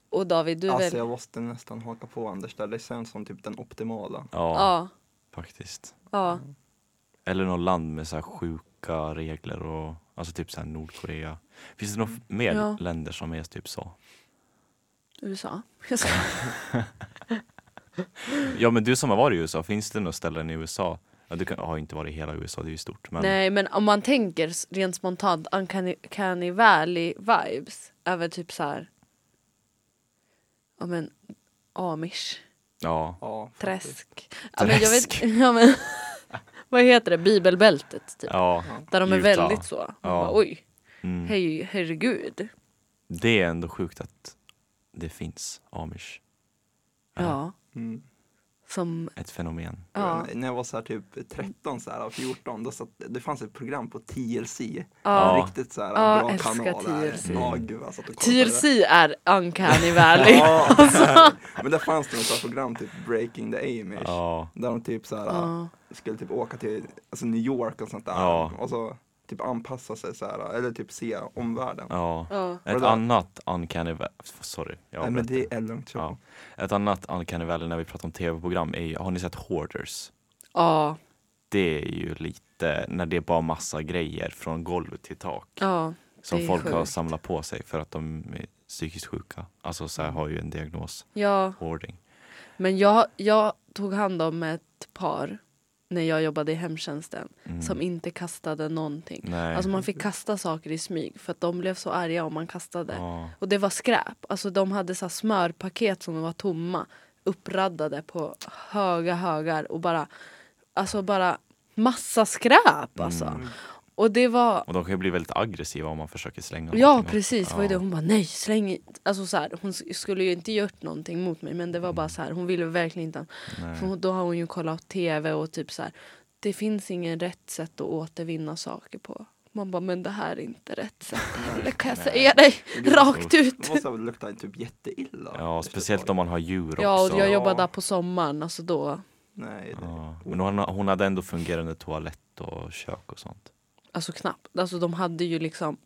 [SPEAKER 2] Och David, du
[SPEAKER 4] Alltså
[SPEAKER 2] väljer...
[SPEAKER 4] jag måste nästan haka på Anders där, det känns som typ den optimala.
[SPEAKER 3] Ja,
[SPEAKER 2] Ja.
[SPEAKER 3] faktiskt.
[SPEAKER 2] ja.
[SPEAKER 3] Eller något land med så här sjuka regler och alltså typ så här Nordkorea. Finns det några f- mer
[SPEAKER 2] Ja.
[SPEAKER 3] länder som är typ så?
[SPEAKER 2] USA. Jag skojar.
[SPEAKER 3] Ja men du som har varit i USA, finns det några ställen i USA? Ja, du kan, har inte varit i hela USA, det är ju stort. Men
[SPEAKER 2] Nej men om man tänker s- rent spontant Uncanny Canny Valley vibes är väl typ så här. Ja men amish,
[SPEAKER 3] ja,
[SPEAKER 4] Ja, faktiskt.
[SPEAKER 2] träsk. Ja, men jag vet, ja, men, vad heter det? Bibelbältet typ.
[SPEAKER 3] ja,
[SPEAKER 2] Där de är
[SPEAKER 3] Utah.
[SPEAKER 2] väldigt så. Man
[SPEAKER 3] Ja.
[SPEAKER 2] Bara, Oj,
[SPEAKER 3] Mm.
[SPEAKER 2] hej, herregud.
[SPEAKER 3] Det är ändå sjukt att det finns amish.
[SPEAKER 2] Ja.
[SPEAKER 4] Mm.
[SPEAKER 2] Som,
[SPEAKER 3] Ett fenomen.
[SPEAKER 2] ja.
[SPEAKER 4] När jag var så här typ 13, så här, 14, då satt, det fanns ett program på TLC.
[SPEAKER 2] Ja.
[SPEAKER 4] En Riktigt så här
[SPEAKER 2] Ja,
[SPEAKER 4] bra
[SPEAKER 2] älskar
[SPEAKER 4] kanal. där.
[SPEAKER 2] TLC.
[SPEAKER 4] Ja, gud, jag satt och kollade.
[SPEAKER 2] TLC är Uncanny Valley. Alltså.
[SPEAKER 4] Ja, så här. men där fanns det något så här program, typ Breaking the Amish.
[SPEAKER 3] Ja,
[SPEAKER 4] Där de typ så här,
[SPEAKER 2] Ja.
[SPEAKER 4] skulle typ åka till alltså New York och sånt där.
[SPEAKER 3] Ja.
[SPEAKER 4] Och så typ anpassa sig så här, eller typ se omvärlden.
[SPEAKER 3] ja.
[SPEAKER 2] Ja.
[SPEAKER 3] Ett
[SPEAKER 4] Vadå?
[SPEAKER 3] annat uncanny valley, sorry. Jag
[SPEAKER 4] Nej men
[SPEAKER 3] avbröt dig.
[SPEAKER 4] det är långt så.
[SPEAKER 3] ja. Ett annat uncanny valley när vi pratar om tv-program är ju, har ni sett Hoarders?
[SPEAKER 2] Ja.
[SPEAKER 3] Det är ju lite när det är bara massa grejer från golv till tak.
[SPEAKER 2] ja. det
[SPEAKER 3] som
[SPEAKER 2] är
[SPEAKER 3] folk har
[SPEAKER 2] sjukt.
[SPEAKER 3] samlat på sig för att de är psykiskt sjuka. Alltså så här har ju en diagnos,
[SPEAKER 2] Ja.
[SPEAKER 3] hoarding.
[SPEAKER 2] Men jag, jag tog hand om ett par när jag jobbade i hemtjänsten som inte kastade någonting.
[SPEAKER 3] Mm. Nej.
[SPEAKER 2] Alltså man fick kasta saker i smyg för att de blev så arga om man kastade.
[SPEAKER 3] Ja.
[SPEAKER 2] Och det var skräp. Alltså de hade så här smörpaket som var tomma uppraddade på höga högar och bara alltså bara massa skräp alltså.
[SPEAKER 3] Mm.
[SPEAKER 2] Och det var
[SPEAKER 3] Och de kan ju bli väldigt aggressiva om man försöker slänga
[SPEAKER 2] Ja
[SPEAKER 3] någonting.
[SPEAKER 2] precis, vad är det? hon bara nej släng i-" Alltså så här, hon s- skulle ju inte gjort någonting mot mig men det var bara så här, hon ville verkligen inte För hon- då har hon ju kollat tv och typ så här Det finns ingen rätt sätt att återvinna saker på Man bara men det här är inte rätt sätt heller kan jag säga dig rakt
[SPEAKER 4] Det
[SPEAKER 2] ut
[SPEAKER 4] måste ha luktat typ jätteilla.
[SPEAKER 3] Ja, speciellt om man har djur också.
[SPEAKER 2] Ja och jag jobbar där på sommaren alltså då
[SPEAKER 4] Nej, det...
[SPEAKER 3] Ja. Men hon, hon hade ändå fungerande toalett och kök och sånt.
[SPEAKER 2] Alltså knappt, alltså de hade ju liksom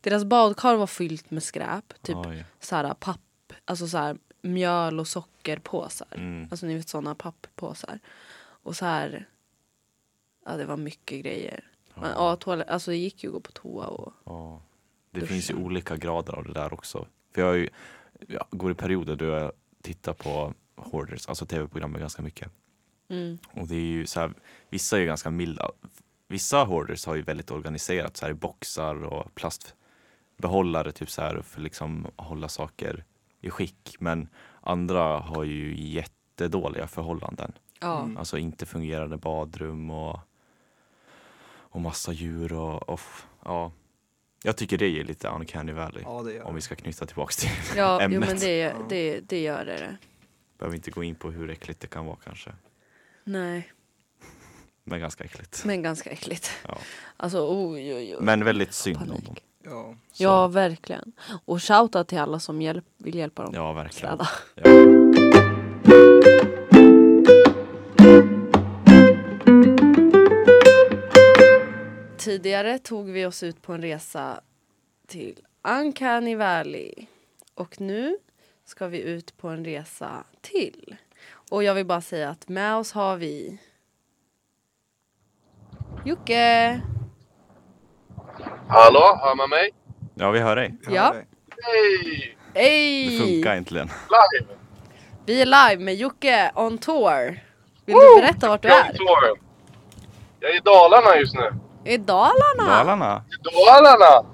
[SPEAKER 2] Deras badkar var fyllt med skräp typ
[SPEAKER 3] Oj.
[SPEAKER 2] så här papp, alltså så här mjöl och sockerpåsar.
[SPEAKER 3] Mm.
[SPEAKER 2] Alltså ni vet såna papppåsar. Och så här, ja det var mycket grejer. Men ja, toalet, alltså det gick ju att gå på toa och
[SPEAKER 3] Ja. Det
[SPEAKER 2] Usch.
[SPEAKER 3] finns ju olika grader av det där också. För jag, har ju, jag går i perioder då jag tittar på hoarders, alltså tv-programmet ganska mycket.
[SPEAKER 2] mm.
[SPEAKER 3] Och det är ju så här, vissa är ju ganska milda. Vissa hoarders har ju väldigt organiserat så här i boxar och plastbehållare typ så här för liksom att hålla saker i skick. Men andra har ju jättedåliga förhållanden.
[SPEAKER 2] ja.
[SPEAKER 3] Alltså inte fungerande badrum och, och massa djur och, och f- ja. Jag tycker det är lite uncanny valley.
[SPEAKER 4] ja det gör
[SPEAKER 3] Om vi
[SPEAKER 4] det.
[SPEAKER 3] ska knyta tillbaks till
[SPEAKER 2] Ja, jo,
[SPEAKER 3] ämnet.
[SPEAKER 2] men det, det, det gör det.
[SPEAKER 3] Behöver inte gå in på hur äckligt det kan vara kanske.
[SPEAKER 2] Nej,
[SPEAKER 3] Men ganska äckligt.
[SPEAKER 2] men ganska äckligt.
[SPEAKER 3] Ja.
[SPEAKER 2] Alltså oj oj oj.
[SPEAKER 3] Men väldigt synd om
[SPEAKER 2] Panik.
[SPEAKER 3] dem.
[SPEAKER 4] Ja.
[SPEAKER 3] Så-
[SPEAKER 2] Ja, verkligen. Och shoutout till alla som hjälp, vill hjälpa dem.
[SPEAKER 3] Ja, verkligen.
[SPEAKER 2] Städa.
[SPEAKER 3] Ja.
[SPEAKER 2] Tidigare tog vi oss ut på en resa till Uncanny Valley. Och nu ska vi ut på en resa till. Och jag vill bara säga att med oss har vi Jocke!
[SPEAKER 5] Hallå, hör man mig?
[SPEAKER 3] Ja, vi hör dig.
[SPEAKER 4] Jag
[SPEAKER 2] Ja.
[SPEAKER 4] hör dig.
[SPEAKER 5] Hej!
[SPEAKER 3] Det
[SPEAKER 2] Hej!
[SPEAKER 3] funkar äntligen.
[SPEAKER 5] Live!
[SPEAKER 2] Vi är live med Jocke on tour. Vill du berätta vart du
[SPEAKER 5] Jag
[SPEAKER 2] är?
[SPEAKER 5] är, jag är i Dalarna just nu.
[SPEAKER 2] I Dalarna!
[SPEAKER 3] Dalarna.
[SPEAKER 5] I Dalarna!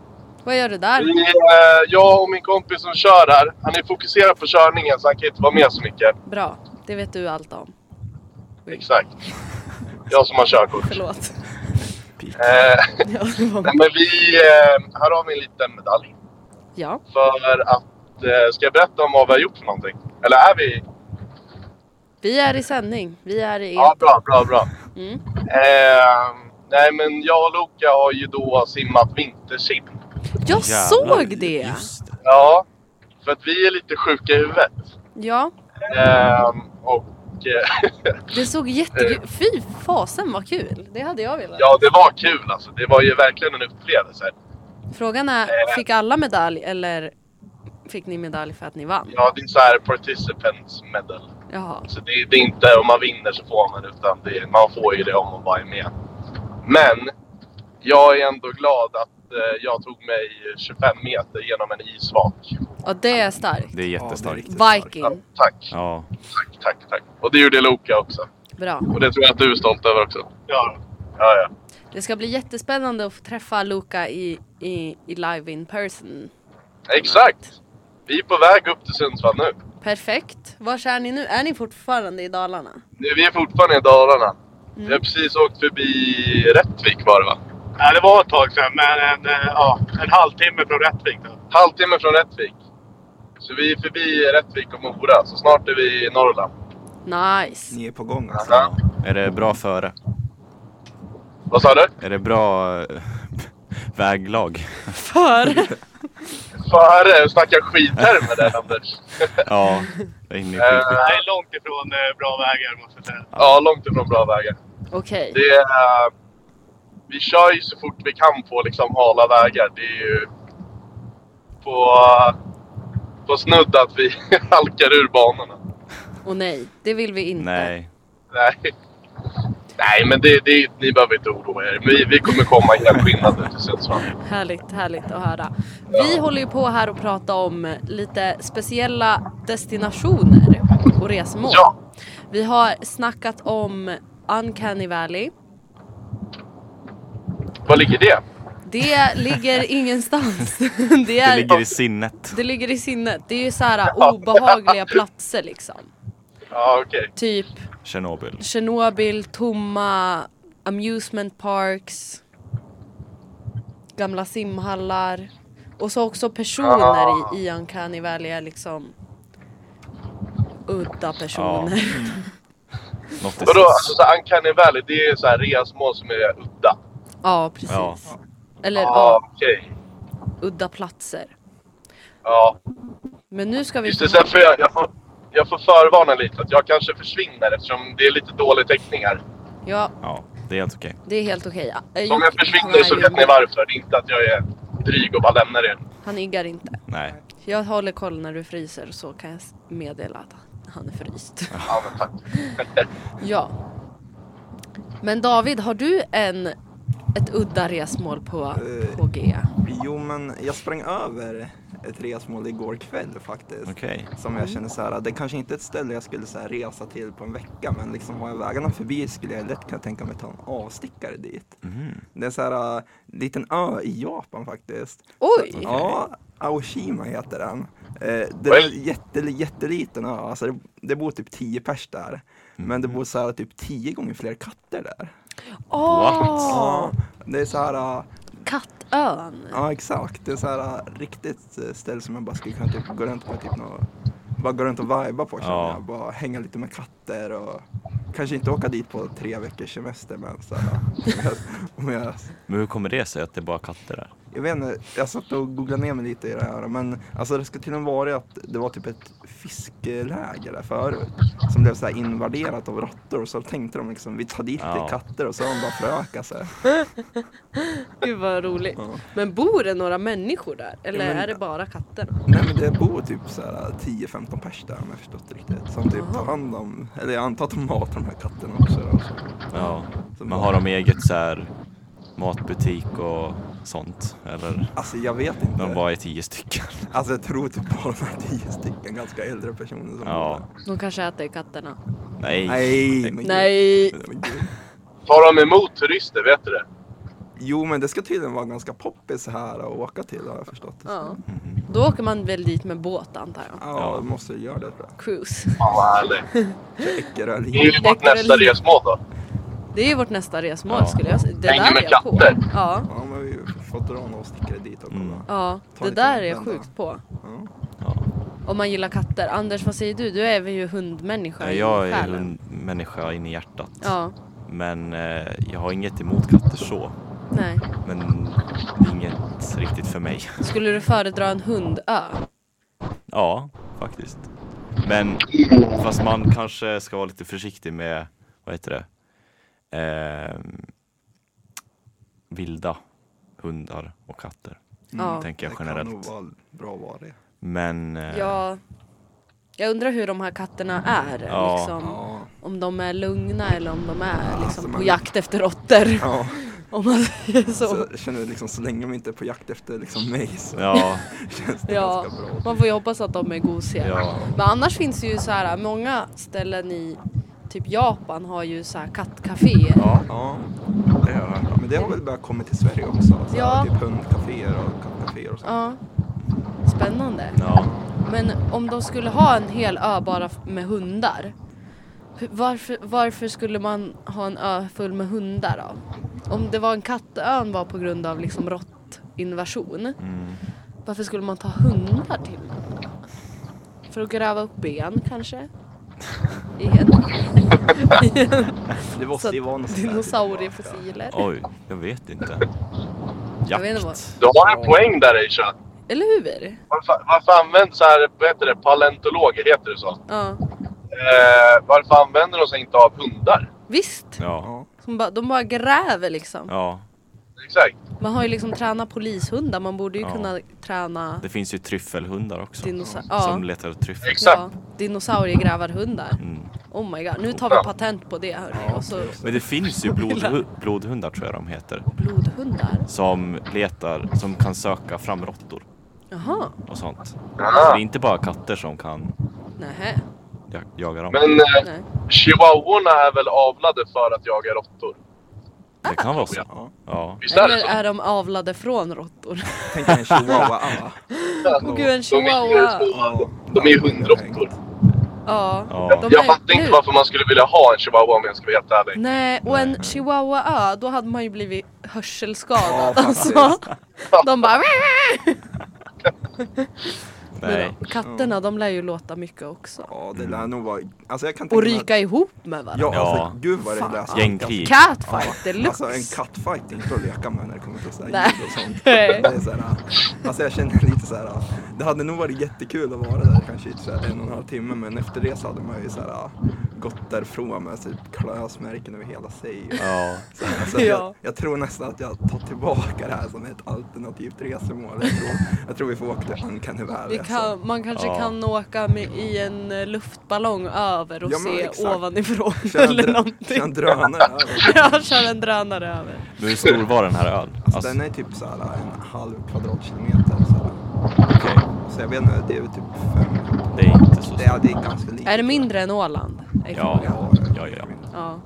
[SPEAKER 2] Vad gör du
[SPEAKER 5] Vi,
[SPEAKER 2] där?
[SPEAKER 5] eh, jag och min kompis som kör här, han är fokuserad på körningen så han kan inte vara med så mycket.
[SPEAKER 2] Bra, det vet du allt om.
[SPEAKER 5] Exakt. Jag som har körkort.
[SPEAKER 2] Förlåt.
[SPEAKER 5] Eh,
[SPEAKER 2] Ja, det var-
[SPEAKER 5] nej, men vi, eh, här har vi en liten medalj.
[SPEAKER 2] ja,
[SPEAKER 5] För att, eh, ska jag berätta om vad vi har gjort för någonting? Eller är vi?
[SPEAKER 2] vi är i sändning. Vi är i
[SPEAKER 5] Ja, bra, bra, bra.
[SPEAKER 2] Mm.
[SPEAKER 5] Eh, nej men jag och Luca har ju då simmat vintersim.
[SPEAKER 2] Jag
[SPEAKER 3] Jävlar,
[SPEAKER 2] såg det!
[SPEAKER 3] Just det.
[SPEAKER 5] Ja, för att vi är lite sjuka i huvudet.
[SPEAKER 2] Ja,
[SPEAKER 5] Ehm, och och eh,
[SPEAKER 2] Det såg
[SPEAKER 4] Eh.
[SPEAKER 2] jättekul Fy fasen vad kul! Det hade jag velat.
[SPEAKER 5] ja, det var kul alltså. Det var ju verkligen en upplevelse.
[SPEAKER 2] Frågan
[SPEAKER 4] Eh.
[SPEAKER 2] är, fick alla medalj eller fick ni medalj för att ni vann?
[SPEAKER 5] Ja, det är så här participants medal.
[SPEAKER 2] Jaha.
[SPEAKER 5] Så det, det är inte om man vinner så får man utan det, man får ju det om man bara är med. Men jag är ändå glad att eh, jag tog mig 25 meter genom en isvak.
[SPEAKER 2] Ja, det är starkt.
[SPEAKER 3] Det är
[SPEAKER 4] Ja, det är
[SPEAKER 3] jättestarkt.
[SPEAKER 4] riktigt
[SPEAKER 5] Ja,
[SPEAKER 2] Viking.
[SPEAKER 5] tack,
[SPEAKER 3] Ja,
[SPEAKER 5] tack, tack, tack. Och det gjorde Loka också.
[SPEAKER 2] Bra.
[SPEAKER 5] Och det tror jag att du är stolt över också. Ja. Ja, ja.
[SPEAKER 2] Det ska bli jättespännande att få träffa Luca i, i, i live in person.
[SPEAKER 5] Exakt! Vi är på väg upp till Sundsvall nu.
[SPEAKER 2] Perfekt. Var är ni nu? Är ni fortfarande i Dalarna?
[SPEAKER 5] Nu- Vi är fortfarande i Dalarna. Vi har precis åkt förbi Rättvik var det va?
[SPEAKER 6] Ja, det var ett tag sedan, men en, eh, ja, en halvtimme från Rättvik. Då.
[SPEAKER 5] Halvtimme från Rättvik. Så vi är förbi Rättvik och Mora, så snart är vi i Norrland.
[SPEAKER 2] Nice.
[SPEAKER 4] Ni är på gång alltså.
[SPEAKER 5] Ja.
[SPEAKER 3] är det bra före?
[SPEAKER 5] Vad sa du?
[SPEAKER 3] Är det bra eh, väglag?
[SPEAKER 2] För?
[SPEAKER 5] Före? Snacka skittermer där Anders.
[SPEAKER 3] Ja, jag är inne i
[SPEAKER 5] Eh,
[SPEAKER 6] Det är långt ifrån eh, bra vägar, måste jag säga.
[SPEAKER 5] ja, långt ifrån bra vägar.
[SPEAKER 2] Okej.
[SPEAKER 5] Det är, eh, vi kör ju så fort vi kan på liksom hala vägar. Det är ju på, på snudd att vi halkar ur banorna.
[SPEAKER 2] Och nej, det vill vi inte.
[SPEAKER 3] Nej,
[SPEAKER 5] Nej. Nej, men det, det, ni behöver inte oroa er. Vi, vi kommer komma helskinnade till Sundsvall.
[SPEAKER 2] Härligt, härligt att höra. Vi håller ju på här och pratar om lite speciella destinationer och resmål.
[SPEAKER 5] Ja.
[SPEAKER 2] Vi har snackat om Uncanny Valley.
[SPEAKER 5] Var ligger det?
[SPEAKER 2] Det ligger ingenstans. Det, är,
[SPEAKER 3] det ligger i sinnet.
[SPEAKER 2] det ligger i sinnet. Det är ju så här obehagliga platser liksom.
[SPEAKER 5] Ja, okej.
[SPEAKER 2] Typ
[SPEAKER 3] Tjernobyl.
[SPEAKER 2] Tjernobyl, tomma amusement parks, gamla simhallar och så också
[SPEAKER 5] Ah.
[SPEAKER 2] personer i, i Uncanny Valley är liksom
[SPEAKER 5] Ah.
[SPEAKER 2] udda personer.
[SPEAKER 5] Mm.
[SPEAKER 3] Något i
[SPEAKER 5] Vadå,
[SPEAKER 3] sis.
[SPEAKER 5] alltså så här, Uncanny Valley, det är så här resmål som är udda?
[SPEAKER 2] Ja, precis.
[SPEAKER 3] Ja.
[SPEAKER 2] Eller
[SPEAKER 5] Ja,
[SPEAKER 2] ja,
[SPEAKER 5] okej.
[SPEAKER 2] udda platser.
[SPEAKER 5] Ja,
[SPEAKER 2] Men nu ska vi...
[SPEAKER 5] just det. Sen får jag, jag, får, jag får förvarna lite att jag kanske försvinner eftersom det är lite dålig täckning här.
[SPEAKER 2] Ja,
[SPEAKER 3] Ja, det är helt okej.
[SPEAKER 2] det är helt okej. Eh,
[SPEAKER 5] Om jag
[SPEAKER 2] Jocke är
[SPEAKER 5] försvinner så
[SPEAKER 2] ju
[SPEAKER 5] vet ni
[SPEAKER 2] med.
[SPEAKER 5] varför. Det är inte att jag är dryg och bara lämnar er.
[SPEAKER 2] Han iggar inte.
[SPEAKER 3] Nej.
[SPEAKER 2] Jag håller koll när du fryser så kan jag s- meddela att han är fryst.
[SPEAKER 5] Ja, men tack.
[SPEAKER 2] Ja. Men David, har du en, ett udda resmål på,
[SPEAKER 4] Eh.
[SPEAKER 2] på G?
[SPEAKER 4] Jo men jag sprang över ett resmål igår kväll faktiskt.
[SPEAKER 3] Okej.
[SPEAKER 4] Som jag känner så här, det kanske inte är ett ställe jag skulle så här, resa till på en vecka men liksom har jag vägarna förbi skulle jag lätt kunna tänka mig ta en avstickare dit. Det är så här, äh, liten ö i Japan faktiskt.
[SPEAKER 2] Oj!
[SPEAKER 4] Så, ja, Aoshima heter den. Eh, det är en jätte, jätteliten ö, alltså det, det bor typ 10 pers där. Men det bor så här typ 10 gånger fler katter där.
[SPEAKER 2] Åh!
[SPEAKER 4] Ja, det är så här äh,
[SPEAKER 2] Kattön!
[SPEAKER 4] Ja exakt, det är så här äh, riktigt äh, ställe som man bara skulle kunna typ gå runt på typ nå bara gå runt och vibea på känner
[SPEAKER 3] Ja.
[SPEAKER 4] jag. Bara hänga lite med katter och kanske inte åka dit på tre veckors semester men så här, äh, om jag,
[SPEAKER 3] Men hur kommer det sig att det är bara katter där?
[SPEAKER 4] jag vet inte, jag satt och googlade ner mig lite i det här men alltså det ska till och med vara att det var typ ett fiskeläger där förut som blev så här invaderat av råttor och så tänkte de liksom vi tar dit
[SPEAKER 3] Ja.
[SPEAKER 4] katter och så har de bara förökat sig.
[SPEAKER 2] Gud vad roligt.
[SPEAKER 4] Ja.
[SPEAKER 2] Men bor det några människor där? Eller
[SPEAKER 4] Ja, men-
[SPEAKER 2] är det bara katter?
[SPEAKER 4] Nej men det bor typ så här 10-15 pers där om jag förstått det riktigt. Som typ tar hand om, eller jag antar att de matar de här katterna också då.
[SPEAKER 3] Ja.
[SPEAKER 4] Så
[SPEAKER 3] Men har de eget så här matbutik och sånt? Eller?
[SPEAKER 4] Alltså jag vet
[SPEAKER 3] De
[SPEAKER 4] inte.
[SPEAKER 3] bara är tio stycken.
[SPEAKER 4] Alltså jag tror typ bara de här 10 stycken ganska äldre personer som bor
[SPEAKER 3] Ja.
[SPEAKER 4] där.
[SPEAKER 2] De kanske äter katterna.
[SPEAKER 3] Nej.
[SPEAKER 4] Nej men gud.
[SPEAKER 2] Nej!
[SPEAKER 4] Men gud.
[SPEAKER 5] Tar de emot turister, vet du det?
[SPEAKER 4] Jo men det ska tydligen vara ganska poppis så här att åka till har jag förstått det
[SPEAKER 2] Ja.
[SPEAKER 4] som.
[SPEAKER 2] Då åker man väl dit med båt antar jag.
[SPEAKER 4] Ja, det måste ju göra det tror
[SPEAKER 2] Cruise.
[SPEAKER 5] Fan vad härligt.
[SPEAKER 4] jag. Eckerö
[SPEAKER 5] Det är ju
[SPEAKER 4] linje.
[SPEAKER 5] vårt nästa resmål då.
[SPEAKER 2] Det är ju vårt nästa resmål
[SPEAKER 3] Ja.
[SPEAKER 2] skulle jag säga. Det
[SPEAKER 5] Hänger
[SPEAKER 2] där
[SPEAKER 5] med
[SPEAKER 2] är jag på.
[SPEAKER 5] katter.
[SPEAKER 2] Ja.
[SPEAKER 4] Ja men vi får dra en avstickare dit och kolla.
[SPEAKER 3] Mm.
[SPEAKER 2] Ja,
[SPEAKER 4] Ta
[SPEAKER 2] det
[SPEAKER 4] lite
[SPEAKER 2] där är jag
[SPEAKER 4] vända.
[SPEAKER 2] sjukt på.
[SPEAKER 4] Ja.
[SPEAKER 3] Ja.
[SPEAKER 2] Om man gillar katter. Anders, vad säger du? Du är väl ju hundmänniska
[SPEAKER 3] Nej,
[SPEAKER 2] i
[SPEAKER 3] Jag är
[SPEAKER 2] själen?
[SPEAKER 3] en människa in i hjärtat.
[SPEAKER 2] Ja,
[SPEAKER 3] Men eh, jag har inget emot katter så.
[SPEAKER 2] nej.
[SPEAKER 3] Men det är inget riktigt för mig.
[SPEAKER 2] Skulle du föredra en hundö?
[SPEAKER 3] Ja, faktiskt. Men fast man kanske ska vara lite försiktig med, vad heter det? Ehm, vilda hundar och katter.
[SPEAKER 2] Mm. Ja.
[SPEAKER 3] Tänker jag
[SPEAKER 4] Det kan nog
[SPEAKER 3] generellt.
[SPEAKER 4] vara bra att vara
[SPEAKER 2] Mm.
[SPEAKER 4] det.
[SPEAKER 3] Men eh,
[SPEAKER 2] Ja. Jag undrar hur de här katterna är.
[SPEAKER 3] Ja.
[SPEAKER 2] Liksom.
[SPEAKER 4] Ja.
[SPEAKER 2] Om de är lugna eller om de är liksom,
[SPEAKER 4] alltså,
[SPEAKER 2] på
[SPEAKER 4] man-
[SPEAKER 2] jakt efter råttor.
[SPEAKER 4] Ja,
[SPEAKER 2] Om man säger så.
[SPEAKER 4] så jag känner liksom så länge de inte är på jakt efter liksom mig så
[SPEAKER 3] ja,
[SPEAKER 4] känns det
[SPEAKER 2] Ja,
[SPEAKER 4] ganska bra.
[SPEAKER 2] man får ju hoppas att de är gosiga.
[SPEAKER 3] Ja.
[SPEAKER 2] Men annars finns det ju så här många ställen i typ Japan har ju så här kattcaféer.
[SPEAKER 3] ja,
[SPEAKER 4] Ja, det har jag hört. Men det har väl börjat komma till Sverige också. Så här,
[SPEAKER 2] Ja.
[SPEAKER 4] Typ hundcaféer och kattcaféer och så.
[SPEAKER 2] Ja. Spännande.
[SPEAKER 3] ja.
[SPEAKER 2] Men om de skulle ha en hel ö bara f- med hundar. hu- Varför, varför skulle man ha en ö full med hundar då? Om det var en kattön var på grund av liksom råttinvasion.
[SPEAKER 3] Mm.
[SPEAKER 2] Varför skulle man ta hundar till? För att gräva upp ben kanske? I en, i en
[SPEAKER 4] Det
[SPEAKER 2] Så
[SPEAKER 4] måste ju vara något sånt typ där tillbaka.
[SPEAKER 2] dinosauriefossiler.
[SPEAKER 3] Oj, jag vet inte.
[SPEAKER 2] Jag vet inte
[SPEAKER 3] Jakt.
[SPEAKER 5] Du har en poäng där Aisha.
[SPEAKER 2] Eller hur?
[SPEAKER 5] Varför, varför används så här, vad heter det, paleontologer, heter det så?
[SPEAKER 2] Ja.
[SPEAKER 5] Eh, varför använder de sig inte av hundar?
[SPEAKER 2] Visst.
[SPEAKER 3] Ja,
[SPEAKER 4] Ja,
[SPEAKER 2] De bara, de bara gräver liksom.
[SPEAKER 3] ja.
[SPEAKER 5] Exakt.
[SPEAKER 2] Man har ju liksom tränat polishundar. Man borde ju
[SPEAKER 3] Ja.
[SPEAKER 2] kunna träna
[SPEAKER 3] Det finns ju tryffelhundar också.
[SPEAKER 2] Dinosa-
[SPEAKER 3] Som
[SPEAKER 2] ja.
[SPEAKER 3] letar efter tryffel.
[SPEAKER 5] Exakt.
[SPEAKER 2] ja, dinosauriegrävarhundar.
[SPEAKER 3] Mm.
[SPEAKER 2] Oh my god. Nu tar vi patent på det hörni. Och så
[SPEAKER 3] Men det finns ju blodhu- blodhundar tror jag de heter.
[SPEAKER 2] blodhundar.
[SPEAKER 3] Som letar, som kan söka fram råttor
[SPEAKER 2] Jaha.
[SPEAKER 3] och sånt. Så det
[SPEAKER 5] Ah.
[SPEAKER 3] är inte bara katter som kan
[SPEAKER 2] Nähä.
[SPEAKER 3] jag- jaga dem.
[SPEAKER 5] Men eh,
[SPEAKER 2] Nej.
[SPEAKER 5] chihuahuorna är väl avlade för att jaga råttor?
[SPEAKER 3] Det kan vara så.
[SPEAKER 4] ja.
[SPEAKER 3] Ja.
[SPEAKER 5] Visst är det
[SPEAKER 2] Eller
[SPEAKER 5] så?
[SPEAKER 2] är de avlade från råttor?
[SPEAKER 4] Tänk dig en chihuahua. alla.
[SPEAKER 2] eh, Åh gud, en
[SPEAKER 5] De är ju
[SPEAKER 2] chihuahua.
[SPEAKER 5] små- de är ju hundråttor.
[SPEAKER 2] Ja.
[SPEAKER 3] Ja.
[SPEAKER 2] De
[SPEAKER 5] Jag
[SPEAKER 2] är-
[SPEAKER 5] fattar inte
[SPEAKER 2] nu-
[SPEAKER 5] varför man skulle vilja ha en chihuahua om jag ska vara helt ärlig.
[SPEAKER 2] Nej, och en chihuahua då hade man ju blivit hörselskadad.
[SPEAKER 4] Ja, faktiskt.
[SPEAKER 2] alltså. De bara...
[SPEAKER 3] Nej.
[SPEAKER 2] Men katterna de lär ju låta mycket också.
[SPEAKER 4] Ja, det lär nog vara... Alltså jag kan
[SPEAKER 2] Och
[SPEAKER 4] tänka mig
[SPEAKER 2] ryka ihop med varandra.
[SPEAKER 4] Ja,
[SPEAKER 3] Ja.
[SPEAKER 4] alltså gud vad det lät.
[SPEAKER 3] Gängkrig.
[SPEAKER 2] Catfight deluxe.
[SPEAKER 4] Alltså en kattfight är inte att leka med när det kommer till sådär
[SPEAKER 2] Nej.
[SPEAKER 4] ljud och sånt. Det är såhär, alltså jag känner lite såhär, det hade nog varit jättekul att vara där kanske i såhär en och en halv timme men efter det så hade man ju såhär gått därifrån med typ klösmärken över hela sig.
[SPEAKER 3] Ja.
[SPEAKER 4] Så här, Alltså,
[SPEAKER 2] Ja.
[SPEAKER 4] jag, jag tror nästan att jag tar tillbaka det här som ett alternativt resemål. Jag tror, jag tror vi får åka till alltså. Uncanny
[SPEAKER 2] Vi
[SPEAKER 4] Valley.
[SPEAKER 2] kan, man kanske
[SPEAKER 3] Ja.
[SPEAKER 2] kan åka med, i en eh, luftballong över och
[SPEAKER 4] Ja, men
[SPEAKER 2] se
[SPEAKER 4] exakt.
[SPEAKER 2] ovanifrån
[SPEAKER 4] alltså. Kör en
[SPEAKER 2] eller
[SPEAKER 4] drö- Kör en
[SPEAKER 2] någonting.
[SPEAKER 4] drönare över.
[SPEAKER 2] Ja, kör en drönare över.
[SPEAKER 3] Men hur stor var den här ön?
[SPEAKER 4] Alltså, den är typ så här en halv kvadratkilometer. Så, här.
[SPEAKER 3] okej.
[SPEAKER 4] så jag vet inte, det är väl typ fem.
[SPEAKER 3] Det är inte så
[SPEAKER 4] Det är,
[SPEAKER 3] stor.
[SPEAKER 4] det är ganska lite.
[SPEAKER 2] Är det mindre än Åland? Är
[SPEAKER 3] Ja.
[SPEAKER 2] frågan.
[SPEAKER 3] Ja, ja,
[SPEAKER 2] ja.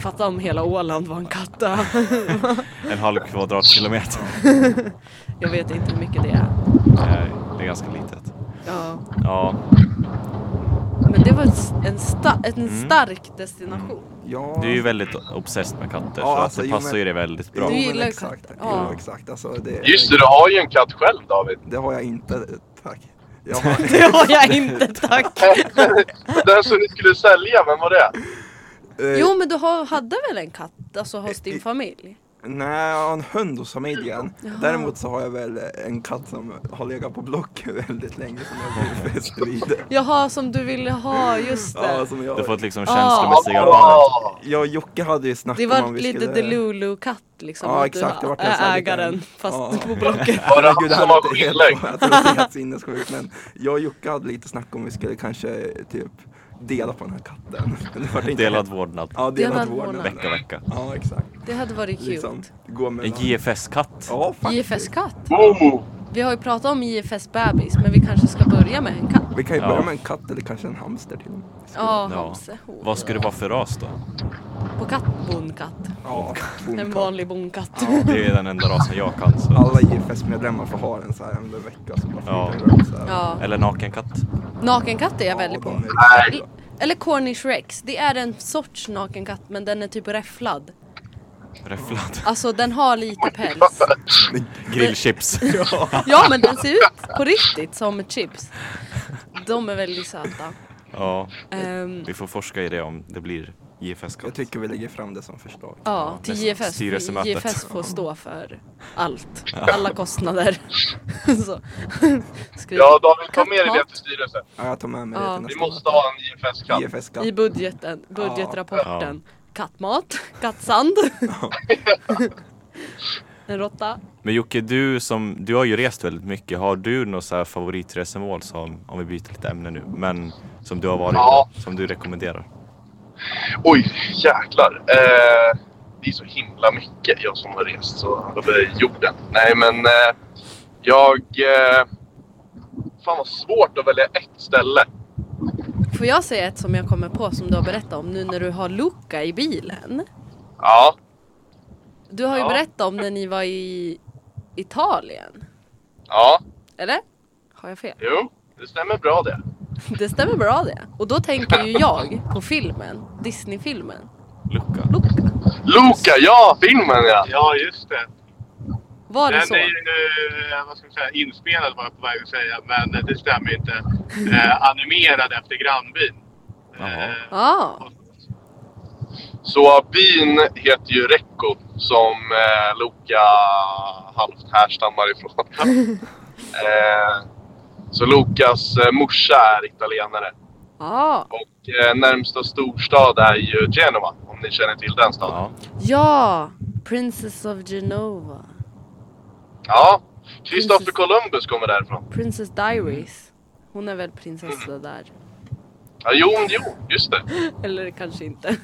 [SPEAKER 2] Fatta om hela Åland var en kattö.
[SPEAKER 3] En halv kvadratkilometer.
[SPEAKER 2] Jag vet inte hur mycket det är.
[SPEAKER 3] Nej, det är ganska litet.
[SPEAKER 2] Ja.
[SPEAKER 3] Ja,
[SPEAKER 2] Men det var ett s- en, sta- en
[SPEAKER 4] Mm.
[SPEAKER 2] stark destination.
[SPEAKER 4] Ja.
[SPEAKER 3] du är ju väldigt obsessed med katter
[SPEAKER 4] Ja,
[SPEAKER 3] så
[SPEAKER 4] alltså,
[SPEAKER 3] att det
[SPEAKER 4] jo,
[SPEAKER 3] passar
[SPEAKER 4] men-
[SPEAKER 3] ju dig väldigt
[SPEAKER 4] Jo,
[SPEAKER 3] bra.
[SPEAKER 2] Du
[SPEAKER 4] men
[SPEAKER 2] gillar ju
[SPEAKER 4] exakt.
[SPEAKER 2] katter.
[SPEAKER 4] Ja.
[SPEAKER 2] Ja.
[SPEAKER 4] exakt. Alltså, det,
[SPEAKER 5] Just det, du har ju en katt själv David.
[SPEAKER 4] det har jag inte. Tack. Jag har,
[SPEAKER 2] Det har jag inte tack.
[SPEAKER 5] Den som du skulle sälja, vem var det?
[SPEAKER 4] eh,
[SPEAKER 2] Jo men du har, hade väl en katt alltså hos din familj?
[SPEAKER 4] Nej, jag har en hund hos familjen. Däremot så har jag väl en katt som har legat på block väldigt länge som jag har blivit fäst vid.
[SPEAKER 2] Jaha som du ville ha, just
[SPEAKER 4] Ja,
[SPEAKER 2] det.
[SPEAKER 4] som
[SPEAKER 3] Du har
[SPEAKER 4] jag,
[SPEAKER 3] fått liksom
[SPEAKER 2] Ah.
[SPEAKER 3] känslomässiga band.
[SPEAKER 5] Ah,
[SPEAKER 4] jag och Jocke hade ju snack
[SPEAKER 2] Det
[SPEAKER 4] om om
[SPEAKER 2] var
[SPEAKER 4] vi
[SPEAKER 2] lite
[SPEAKER 4] skulle...
[SPEAKER 2] Delulu-katt liksom.
[SPEAKER 4] Ja,
[SPEAKER 2] att
[SPEAKER 4] exakt, det
[SPEAKER 2] Du
[SPEAKER 4] vart en sån
[SPEAKER 2] är
[SPEAKER 4] här
[SPEAKER 2] ägaren
[SPEAKER 4] liten-
[SPEAKER 2] fast
[SPEAKER 4] Ja.
[SPEAKER 2] på blocket.
[SPEAKER 5] var det
[SPEAKER 4] Gud,
[SPEAKER 5] han
[SPEAKER 4] det här
[SPEAKER 5] som var
[SPEAKER 4] låter helt-
[SPEAKER 5] skyldig?
[SPEAKER 4] Jag tror det är helt sinnessjukt men jag och Jocke hade lite snack om vi skulle kanske typ dela på den här katten. Det var inte-
[SPEAKER 3] Delad vårdnad.
[SPEAKER 4] Ja, delad
[SPEAKER 2] Delad
[SPEAKER 4] vårdnad.
[SPEAKER 2] vårdnad.
[SPEAKER 3] Vecka, vecka.
[SPEAKER 4] Ja, exakt.
[SPEAKER 2] Det hade varit kul.
[SPEAKER 4] Liksom, gå med
[SPEAKER 3] En
[SPEAKER 4] varandra.
[SPEAKER 3] JFS-katt.
[SPEAKER 4] Ja, faktiskt.
[SPEAKER 2] JFS-katt.
[SPEAKER 5] Oh,
[SPEAKER 2] Vi har ju pratat om JFS-bebis men vi kanske ska börja med en katt.
[SPEAKER 4] Vi kan ju
[SPEAKER 3] Ja.
[SPEAKER 4] börja med en katt eller kanske en hamster till och med.
[SPEAKER 2] Ja,
[SPEAKER 3] Ja.
[SPEAKER 2] Hamse.
[SPEAKER 3] Vad ska det vara för ras då?
[SPEAKER 2] På katt, bonkatt.
[SPEAKER 4] Ja,
[SPEAKER 2] En
[SPEAKER 4] bonkatt.
[SPEAKER 2] vanlig bonkatt.
[SPEAKER 3] Det är den enda rasen jag kan. Så.
[SPEAKER 4] Alla JFS-medlemmar får ha en så här under en vecka så bara
[SPEAKER 3] Ja.
[SPEAKER 4] flyter runt så här.
[SPEAKER 2] Ja.
[SPEAKER 3] Eller nakenkatt.
[SPEAKER 2] Nakenkatt är jag väldigt
[SPEAKER 4] de
[SPEAKER 2] på.
[SPEAKER 4] är
[SPEAKER 2] L-
[SPEAKER 4] riktigt bra.
[SPEAKER 2] Eller Cornish Rex. Det är en sorts nakenkatt men den är typ räfflad.
[SPEAKER 3] Räfflad.
[SPEAKER 2] Alltså den har lite päls.
[SPEAKER 5] Oh!
[SPEAKER 3] Grillchips.
[SPEAKER 2] Ja men den ser ut på riktigt som ett chips. De är väldigt söta.
[SPEAKER 3] Ja,
[SPEAKER 2] Ehm,
[SPEAKER 3] vi får forska i det om det blir JFS Gott.
[SPEAKER 4] Jag tycker vi lägger fram det som förslag.
[SPEAKER 2] Ja, till
[SPEAKER 3] nästa
[SPEAKER 2] JFS.
[SPEAKER 3] styrelsemötet.
[SPEAKER 2] JFS får stå för allt. Alla kostnader. så. Skriv.
[SPEAKER 5] Ja, David, ta med dig det
[SPEAKER 2] Kattmat
[SPEAKER 5] till styrelsen.
[SPEAKER 4] Ja, jag tar med mig
[SPEAKER 2] Ja.
[SPEAKER 4] det
[SPEAKER 5] Vi
[SPEAKER 4] till
[SPEAKER 5] måste
[SPEAKER 4] nästa
[SPEAKER 5] ha en IFS-katt.
[SPEAKER 4] IFS-skatt.
[SPEAKER 2] I budgeten, budgetrapporten. Kattmat, kattsand. en råtta.
[SPEAKER 3] Men Jocke, du, som, du har ju rest väldigt mycket. Har du något så här favoritresemål som, om vi byter lite ämne nu, men som du har varit
[SPEAKER 5] Ja.
[SPEAKER 3] på, som du rekommenderar?
[SPEAKER 5] Oj, jäklar. Eh, det är så himla mycket jag som har rest så över jorden. Nej, men eh, jag... Eh, fan vad svårt att välja ett ställe.
[SPEAKER 2] Får jag säga ett som jag kommer på som du har berättat om nu när du har Luca i bilen?
[SPEAKER 5] Ja,
[SPEAKER 2] Du har ju
[SPEAKER 5] Ja.
[SPEAKER 2] berättat om när ni var i Italien.
[SPEAKER 5] ja,
[SPEAKER 2] Eller? Har jag fel?
[SPEAKER 5] jo. Det stämmer bra det.
[SPEAKER 2] Det stämmer bra det. Och då tänker ju jag på filmen. Disney-filmen.
[SPEAKER 3] Luca?
[SPEAKER 2] Luca.
[SPEAKER 5] Luca, ja! Filmen ja!
[SPEAKER 6] Ja, just det.
[SPEAKER 2] Var det
[SPEAKER 6] Den
[SPEAKER 2] så?
[SPEAKER 6] är ju, eh, vad ska man säga, inspelad var jag på väg att säga, men eh, det stämmer ju inte. Eh, animerad efter grannbyn.
[SPEAKER 3] Jaha.
[SPEAKER 6] Eh,
[SPEAKER 2] Ja.
[SPEAKER 5] Så byn heter ju Recco som eh, Loka halvt härstammar ifrån. eh, så Lokas eh, morsa är italienare.
[SPEAKER 2] Ja.
[SPEAKER 5] Och eh, närmsta storstad är ju Genova, om ni känner till den staden. Ja,
[SPEAKER 3] Ja.
[SPEAKER 2] Ja. Princess of Genova.
[SPEAKER 5] Christopher
[SPEAKER 2] Precis.
[SPEAKER 5] Columbus kommer därifrån.
[SPEAKER 2] Princess Diaries. Hon är väl prinsessa där.
[SPEAKER 5] Ja, jo, jo, just det.
[SPEAKER 2] Eller kanske inte. Det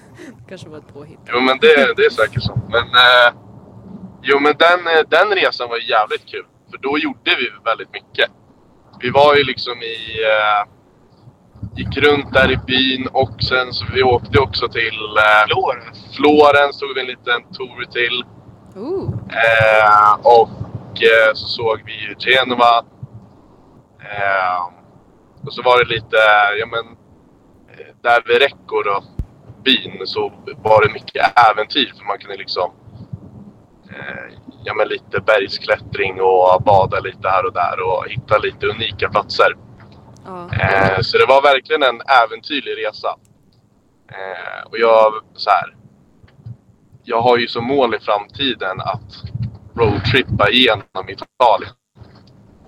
[SPEAKER 2] kanske var ett påhitt.
[SPEAKER 5] Jo, men det, det är säkert så. Men, eh, jo, men den, eh, den resan var ju jävligt kul. För då gjorde vi väldigt mycket. Vi var ju liksom i... Eh, gick runt där i byn och sen så vi åkte också till eh,
[SPEAKER 6] Florens.
[SPEAKER 5] Florens, tog vi en liten tour till.
[SPEAKER 2] Ooh.
[SPEAKER 5] Eh, och eh, så såg vi ju Genova. Eh, och så var det lite, ja men, eh, där vid Recco då, byn, så var det mycket äventyr för man kunde liksom, eh, ja men lite bergsklättring och bada lite här och där och hitta lite unika platser.
[SPEAKER 2] Ja.
[SPEAKER 5] Eh, så det var verkligen en äventyrlig resa. Eh, och jag så här. Jag har ju som mål i framtiden att roadtrippa igenom Italien.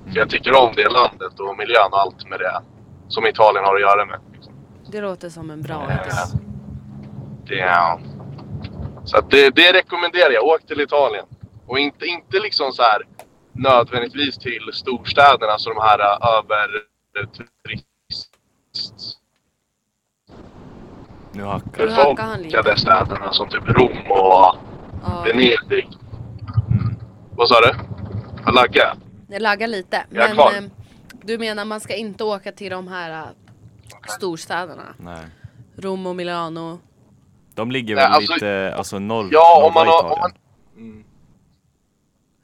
[SPEAKER 5] För jag tycker om det landet och miljön och allt med det som Italien har att göra med. liksom.
[SPEAKER 2] Det låter som en bra
[SPEAKER 5] Eh,
[SPEAKER 2] idé.
[SPEAKER 5] Det är, så att det, det rekommenderar jag. Åk till Italien. Och inte, inte liksom så här nödvändigtvis till storstäderna, alltså de här eh, över turist
[SPEAKER 3] Nu hackar
[SPEAKER 2] Nu hackar han lite.
[SPEAKER 5] befolkade städerna som typ Rom och
[SPEAKER 2] Ja.
[SPEAKER 5] Venedig. Vad sa du? Jag laggade?
[SPEAKER 2] Jag laggar lite.
[SPEAKER 5] Jag är
[SPEAKER 2] Men
[SPEAKER 5] kvar.
[SPEAKER 2] eh, du menar man ska inte åka till de här eh, storstäderna?
[SPEAKER 3] Nej.
[SPEAKER 2] Rom och Milano.
[SPEAKER 3] De ligger
[SPEAKER 5] Nej,
[SPEAKER 3] väl
[SPEAKER 5] alltså-
[SPEAKER 3] lite alltså norr,
[SPEAKER 5] Ja, om
[SPEAKER 3] norra
[SPEAKER 5] man har- om
[SPEAKER 3] Italien?
[SPEAKER 5] man-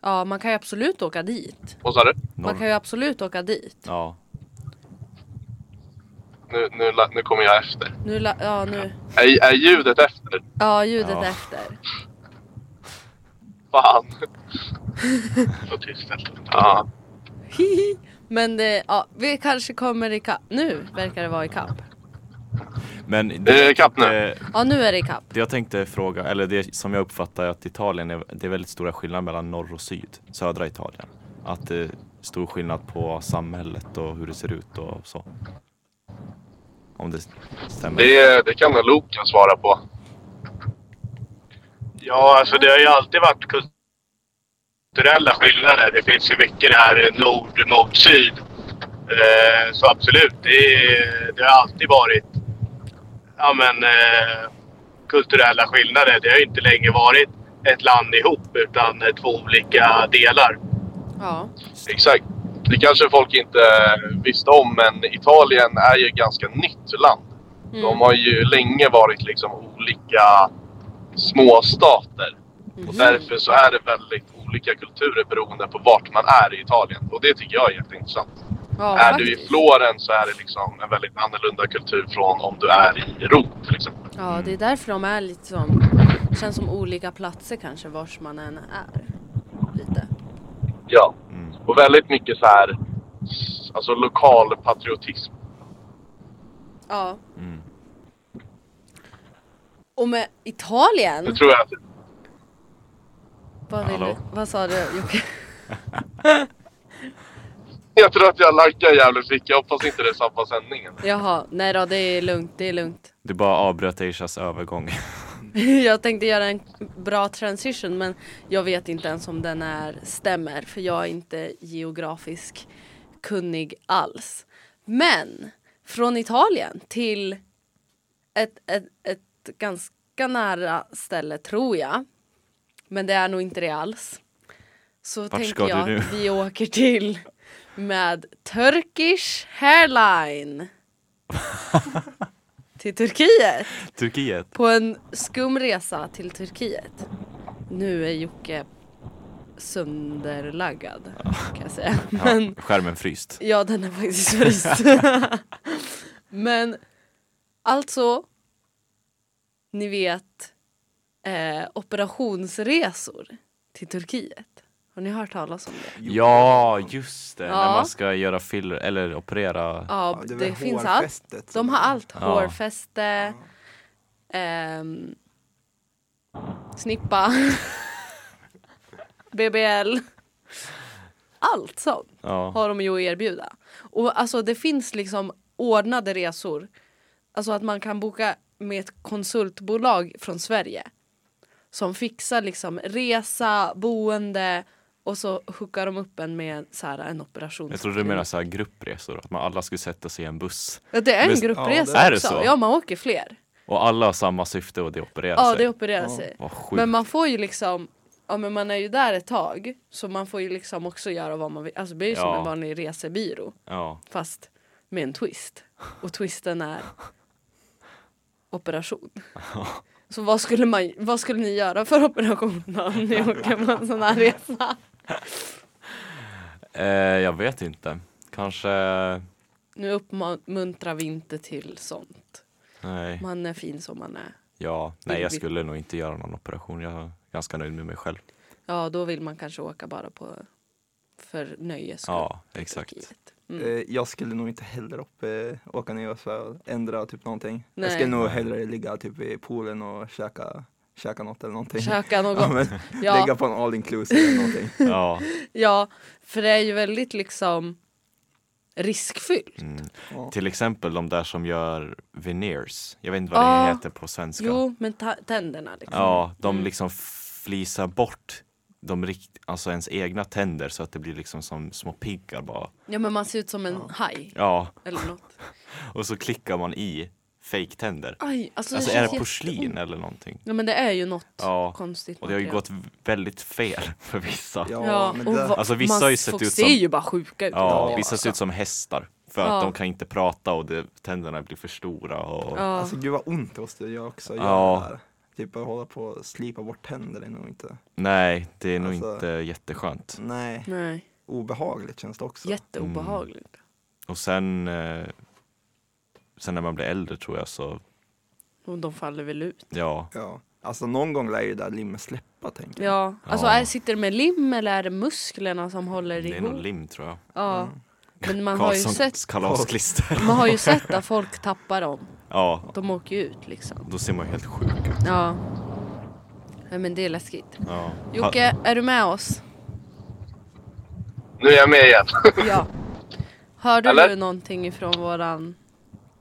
[SPEAKER 2] Ja, man kan ju absolut åka dit.
[SPEAKER 5] Vad sa du?
[SPEAKER 2] Man
[SPEAKER 3] Norr-
[SPEAKER 2] kan ju absolut åka dit.
[SPEAKER 3] Ja.
[SPEAKER 5] Nu, nu, la- nu kommer jag efter.
[SPEAKER 2] Nu, la- ja, nu.
[SPEAKER 5] Är, är ljudet efter?
[SPEAKER 2] Ja, ljudet
[SPEAKER 3] Ja.
[SPEAKER 2] efter.
[SPEAKER 5] Fan.
[SPEAKER 6] Så tyst.
[SPEAKER 5] Ja.
[SPEAKER 2] Hihi. Men det, ja, vi kanske kommer ikapp. Nu verkar det vara ikapp.
[SPEAKER 3] Men det, eh,
[SPEAKER 5] är kapp Eh, nu.
[SPEAKER 3] det-
[SPEAKER 2] Ja, nu är det ikapp.
[SPEAKER 3] Det jag tänkte fråga, eller det som jag uppfattar är att Italien, är, det är väldigt stora skillnader mellan norr och syd, södra Italien. Att det är stor skillnad på samhället och hur det ser ut och så. Om det stämmer.
[SPEAKER 5] Det, det kan nog Loken svara på.
[SPEAKER 6] Ja, alltså det har ju alltid varit kulturella skillnader. Det finns ju mycket det här eh, nord mot syd. Eh, så absolut, det, är- det har alltid varit ja, men, eh, kulturella skillnader. Det har ju inte länge varit ett land ihop utan eh, två olika delar.
[SPEAKER 2] Ja.
[SPEAKER 5] Exakt. Det kanske folk inte eh, visste om, men Italien är ju ett ganska nytt land.
[SPEAKER 2] Mm.
[SPEAKER 5] De har ju länge varit liksom olika småstater. Och
[SPEAKER 2] Mm-hmm.
[SPEAKER 5] därför så är det väldigt olika kulturer beroende på vart man är i Italien. Och det tycker jag är jätteintressant.
[SPEAKER 2] Ja,
[SPEAKER 5] är du i
[SPEAKER 2] faktiskt.
[SPEAKER 5] Florens så är det liksom en väldigt annorlunda kultur från om du är i Rom till exempel.
[SPEAKER 2] Ja, det är därför de är lite som... Känns som olika platser kanske, vars man än är. Lite.
[SPEAKER 5] Ja.
[SPEAKER 3] Mm.
[SPEAKER 5] Och väldigt mycket så här, alltså lokal patriotism.
[SPEAKER 2] Ja.
[SPEAKER 3] Mm.
[SPEAKER 2] Och med Italien?
[SPEAKER 5] Det tror jag. att-
[SPEAKER 2] Vad, vill du,
[SPEAKER 3] Hallå?
[SPEAKER 2] vad sa du Jocke?
[SPEAKER 5] Jag tror att jag laggar jävligt mycket. Jag hoppas inte det är samma sändning.
[SPEAKER 2] Jaha, nej då det är lugnt, det är lugnt.
[SPEAKER 3] Du bara avbröt Aishas övergång.
[SPEAKER 2] Jag tänkte göra en bra transition men jag vet inte ens om den är, stämmer för jag är inte geografisk kunnig alls. Men från Italien till ett, ett, ett ganska nära ställe tror jag. Men det är nog inte det alls. Så tänker
[SPEAKER 3] ska
[SPEAKER 2] jag
[SPEAKER 3] du nu?
[SPEAKER 2] att vi åker till med Turkish Hairline. till Turkiet
[SPEAKER 3] Turkiet.
[SPEAKER 2] på en skum resa till Turkiet. Nu är Jocke sönderlaggad kan jag säga.
[SPEAKER 3] Ja,
[SPEAKER 2] Men
[SPEAKER 3] skärmen fryst.
[SPEAKER 2] ja, den är faktiskt fryst. Men alltså, ni vet eh, operationsresor till Turkiet. Har ni hört talas om det?
[SPEAKER 3] Ja, just det.
[SPEAKER 2] Ja.
[SPEAKER 3] När man ska göra filler eller operera.
[SPEAKER 2] Ja,
[SPEAKER 4] Ja,
[SPEAKER 2] det,
[SPEAKER 4] är väl
[SPEAKER 2] finns allt.
[SPEAKER 4] hårfästet som
[SPEAKER 2] De har
[SPEAKER 4] är-
[SPEAKER 2] allt.
[SPEAKER 3] Ja.
[SPEAKER 2] Hårfäste, ehm, snippa, BBL. Allt sånt
[SPEAKER 3] Ja.
[SPEAKER 2] har de ju att erbjuda. Och alltså det finns liksom ordnade resor. Alltså att man kan boka med ett konsultbolag från Sverige. Som fixar liksom resa, boende och så hookar de upp en med så här, en operation.
[SPEAKER 3] Jag trodde du menade så här gruppresor, att man alla skulle sätta sig i en buss.
[SPEAKER 2] Ja, det är en
[SPEAKER 3] Visst-
[SPEAKER 2] gruppresa
[SPEAKER 3] ja, det- Är det
[SPEAKER 2] också.
[SPEAKER 3] så?
[SPEAKER 2] Ja, man åker fler.
[SPEAKER 3] Och alla har samma syfte och det är operera
[SPEAKER 2] Ja,
[SPEAKER 3] sig.
[SPEAKER 2] det opererar sig.
[SPEAKER 3] Vad sjukt.
[SPEAKER 2] Men man får ju liksom, ja men man är ju där ett tag. Så man får ju liksom också göra vad man vill. Alltså det blir ju som
[SPEAKER 3] Ja.
[SPEAKER 2] en vanlig resebyrå.
[SPEAKER 3] Ja.
[SPEAKER 2] Fast med en twist. Och twisten är operation. Så vad skulle, man, vad skulle ni göra för operationen om ni åker på en sån här resa?
[SPEAKER 3] Eh, jag vet inte. Kanske...
[SPEAKER 2] Nu uppmuntrar vi inte till sånt.
[SPEAKER 3] Nej.
[SPEAKER 2] Man är fin som man är.
[SPEAKER 3] Ja, nej
[SPEAKER 2] Vill
[SPEAKER 3] jag
[SPEAKER 2] vi-
[SPEAKER 3] skulle nog inte göra någon operation. Jag är ganska nöjd med mig själv.
[SPEAKER 2] Ja, då vill man kanske åka bara på för nöjes skull.
[SPEAKER 3] Ja, exakt.
[SPEAKER 2] Turkiet.
[SPEAKER 4] Eh, Jag skulle nog inte heller upp, eh, åka ner och så ändra typ någonting.
[SPEAKER 2] Nej.
[SPEAKER 4] Jag skulle nog hellre ligga typ i poolen och käka, käka något eller någonting.
[SPEAKER 2] Käka något.
[SPEAKER 4] Ja,
[SPEAKER 2] Ja,
[SPEAKER 4] men,
[SPEAKER 2] Ja.
[SPEAKER 4] Lägga på en all inclusive eller någonting.
[SPEAKER 3] Ja.
[SPEAKER 2] för det är ju väldigt liksom riskfyllt.
[SPEAKER 3] Mm,
[SPEAKER 4] Ja.
[SPEAKER 3] Till exempel de där som gör veneers. Jag vet inte vad
[SPEAKER 2] Ah.
[SPEAKER 3] det heter på svenska.
[SPEAKER 2] Jo, men ta- tänderna liksom.
[SPEAKER 3] Ja, de liksom flisar bort de rikt- alltså ens egna tänder så att det blir liksom som små piggar bara.
[SPEAKER 2] Ja, men man ser ut som en haj
[SPEAKER 3] Ja,
[SPEAKER 2] eller något.
[SPEAKER 3] och så klickar man i fejktänder.
[SPEAKER 2] Aj, alltså,
[SPEAKER 3] Alltså
[SPEAKER 2] det
[SPEAKER 3] är
[SPEAKER 2] känns
[SPEAKER 3] det
[SPEAKER 2] jätte-
[SPEAKER 3] porslin eller någonting?
[SPEAKER 2] Ja, men det är ju något
[SPEAKER 3] Ja,
[SPEAKER 2] konstigt.
[SPEAKER 3] Och det har ju
[SPEAKER 2] material.
[SPEAKER 3] gått väldigt fel för vissa.
[SPEAKER 4] Ja,
[SPEAKER 2] Ja,
[SPEAKER 4] men
[SPEAKER 2] och
[SPEAKER 4] det,
[SPEAKER 2] vad-
[SPEAKER 3] Alltså, vissa
[SPEAKER 2] man
[SPEAKER 3] har ju sett
[SPEAKER 2] folk
[SPEAKER 3] ut
[SPEAKER 2] ser
[SPEAKER 3] som-
[SPEAKER 2] ju bara sjuka ut.
[SPEAKER 3] Ja,
[SPEAKER 2] Ja.
[SPEAKER 3] vissa ser ut som hästar för
[SPEAKER 2] Ja.
[SPEAKER 3] att de kan inte prata och det, tänderna blir för stora. Och...
[SPEAKER 2] Ja.
[SPEAKER 4] alltså gud vad ont det måste göra också. att
[SPEAKER 3] Ja.
[SPEAKER 4] Göra det här. Typ att hålla på och slipa bort tänder är nog inte.
[SPEAKER 3] Nej, det är nog
[SPEAKER 4] Alltså-
[SPEAKER 3] inte jätteskönt.
[SPEAKER 4] Nej,
[SPEAKER 2] Nej,
[SPEAKER 4] obehagligt känns det också.
[SPEAKER 2] jätteobehagligt.
[SPEAKER 3] Och sen, eh, sen när man blir äldre tror jag så,
[SPEAKER 2] Mm. Och de faller väl ut.
[SPEAKER 3] ja.
[SPEAKER 4] Ja. Alltså någon gång lär ju det där limmet släppa tänker jag.
[SPEAKER 2] Ja, alltså
[SPEAKER 3] Ja.
[SPEAKER 2] Är, sitter det med lim eller är det musklerna som håller
[SPEAKER 3] Det är
[SPEAKER 2] ihop?
[SPEAKER 3] nog lim tror jag.
[SPEAKER 2] ja. Men man har, ju sett,
[SPEAKER 3] Karlssons kalasklister.
[SPEAKER 2] man har ju sett att folk tappar dem.
[SPEAKER 3] Ja,
[SPEAKER 2] De åker ju ut liksom.
[SPEAKER 3] då ser man ju helt sjuk ut.
[SPEAKER 2] Ja. Nej men det är läskigt.
[SPEAKER 3] Ja.
[SPEAKER 2] Jocke, är du med oss?
[SPEAKER 5] Nu är jag med igen.
[SPEAKER 2] Ja. Hörde
[SPEAKER 5] Eller?
[SPEAKER 2] du någonting ifrån våran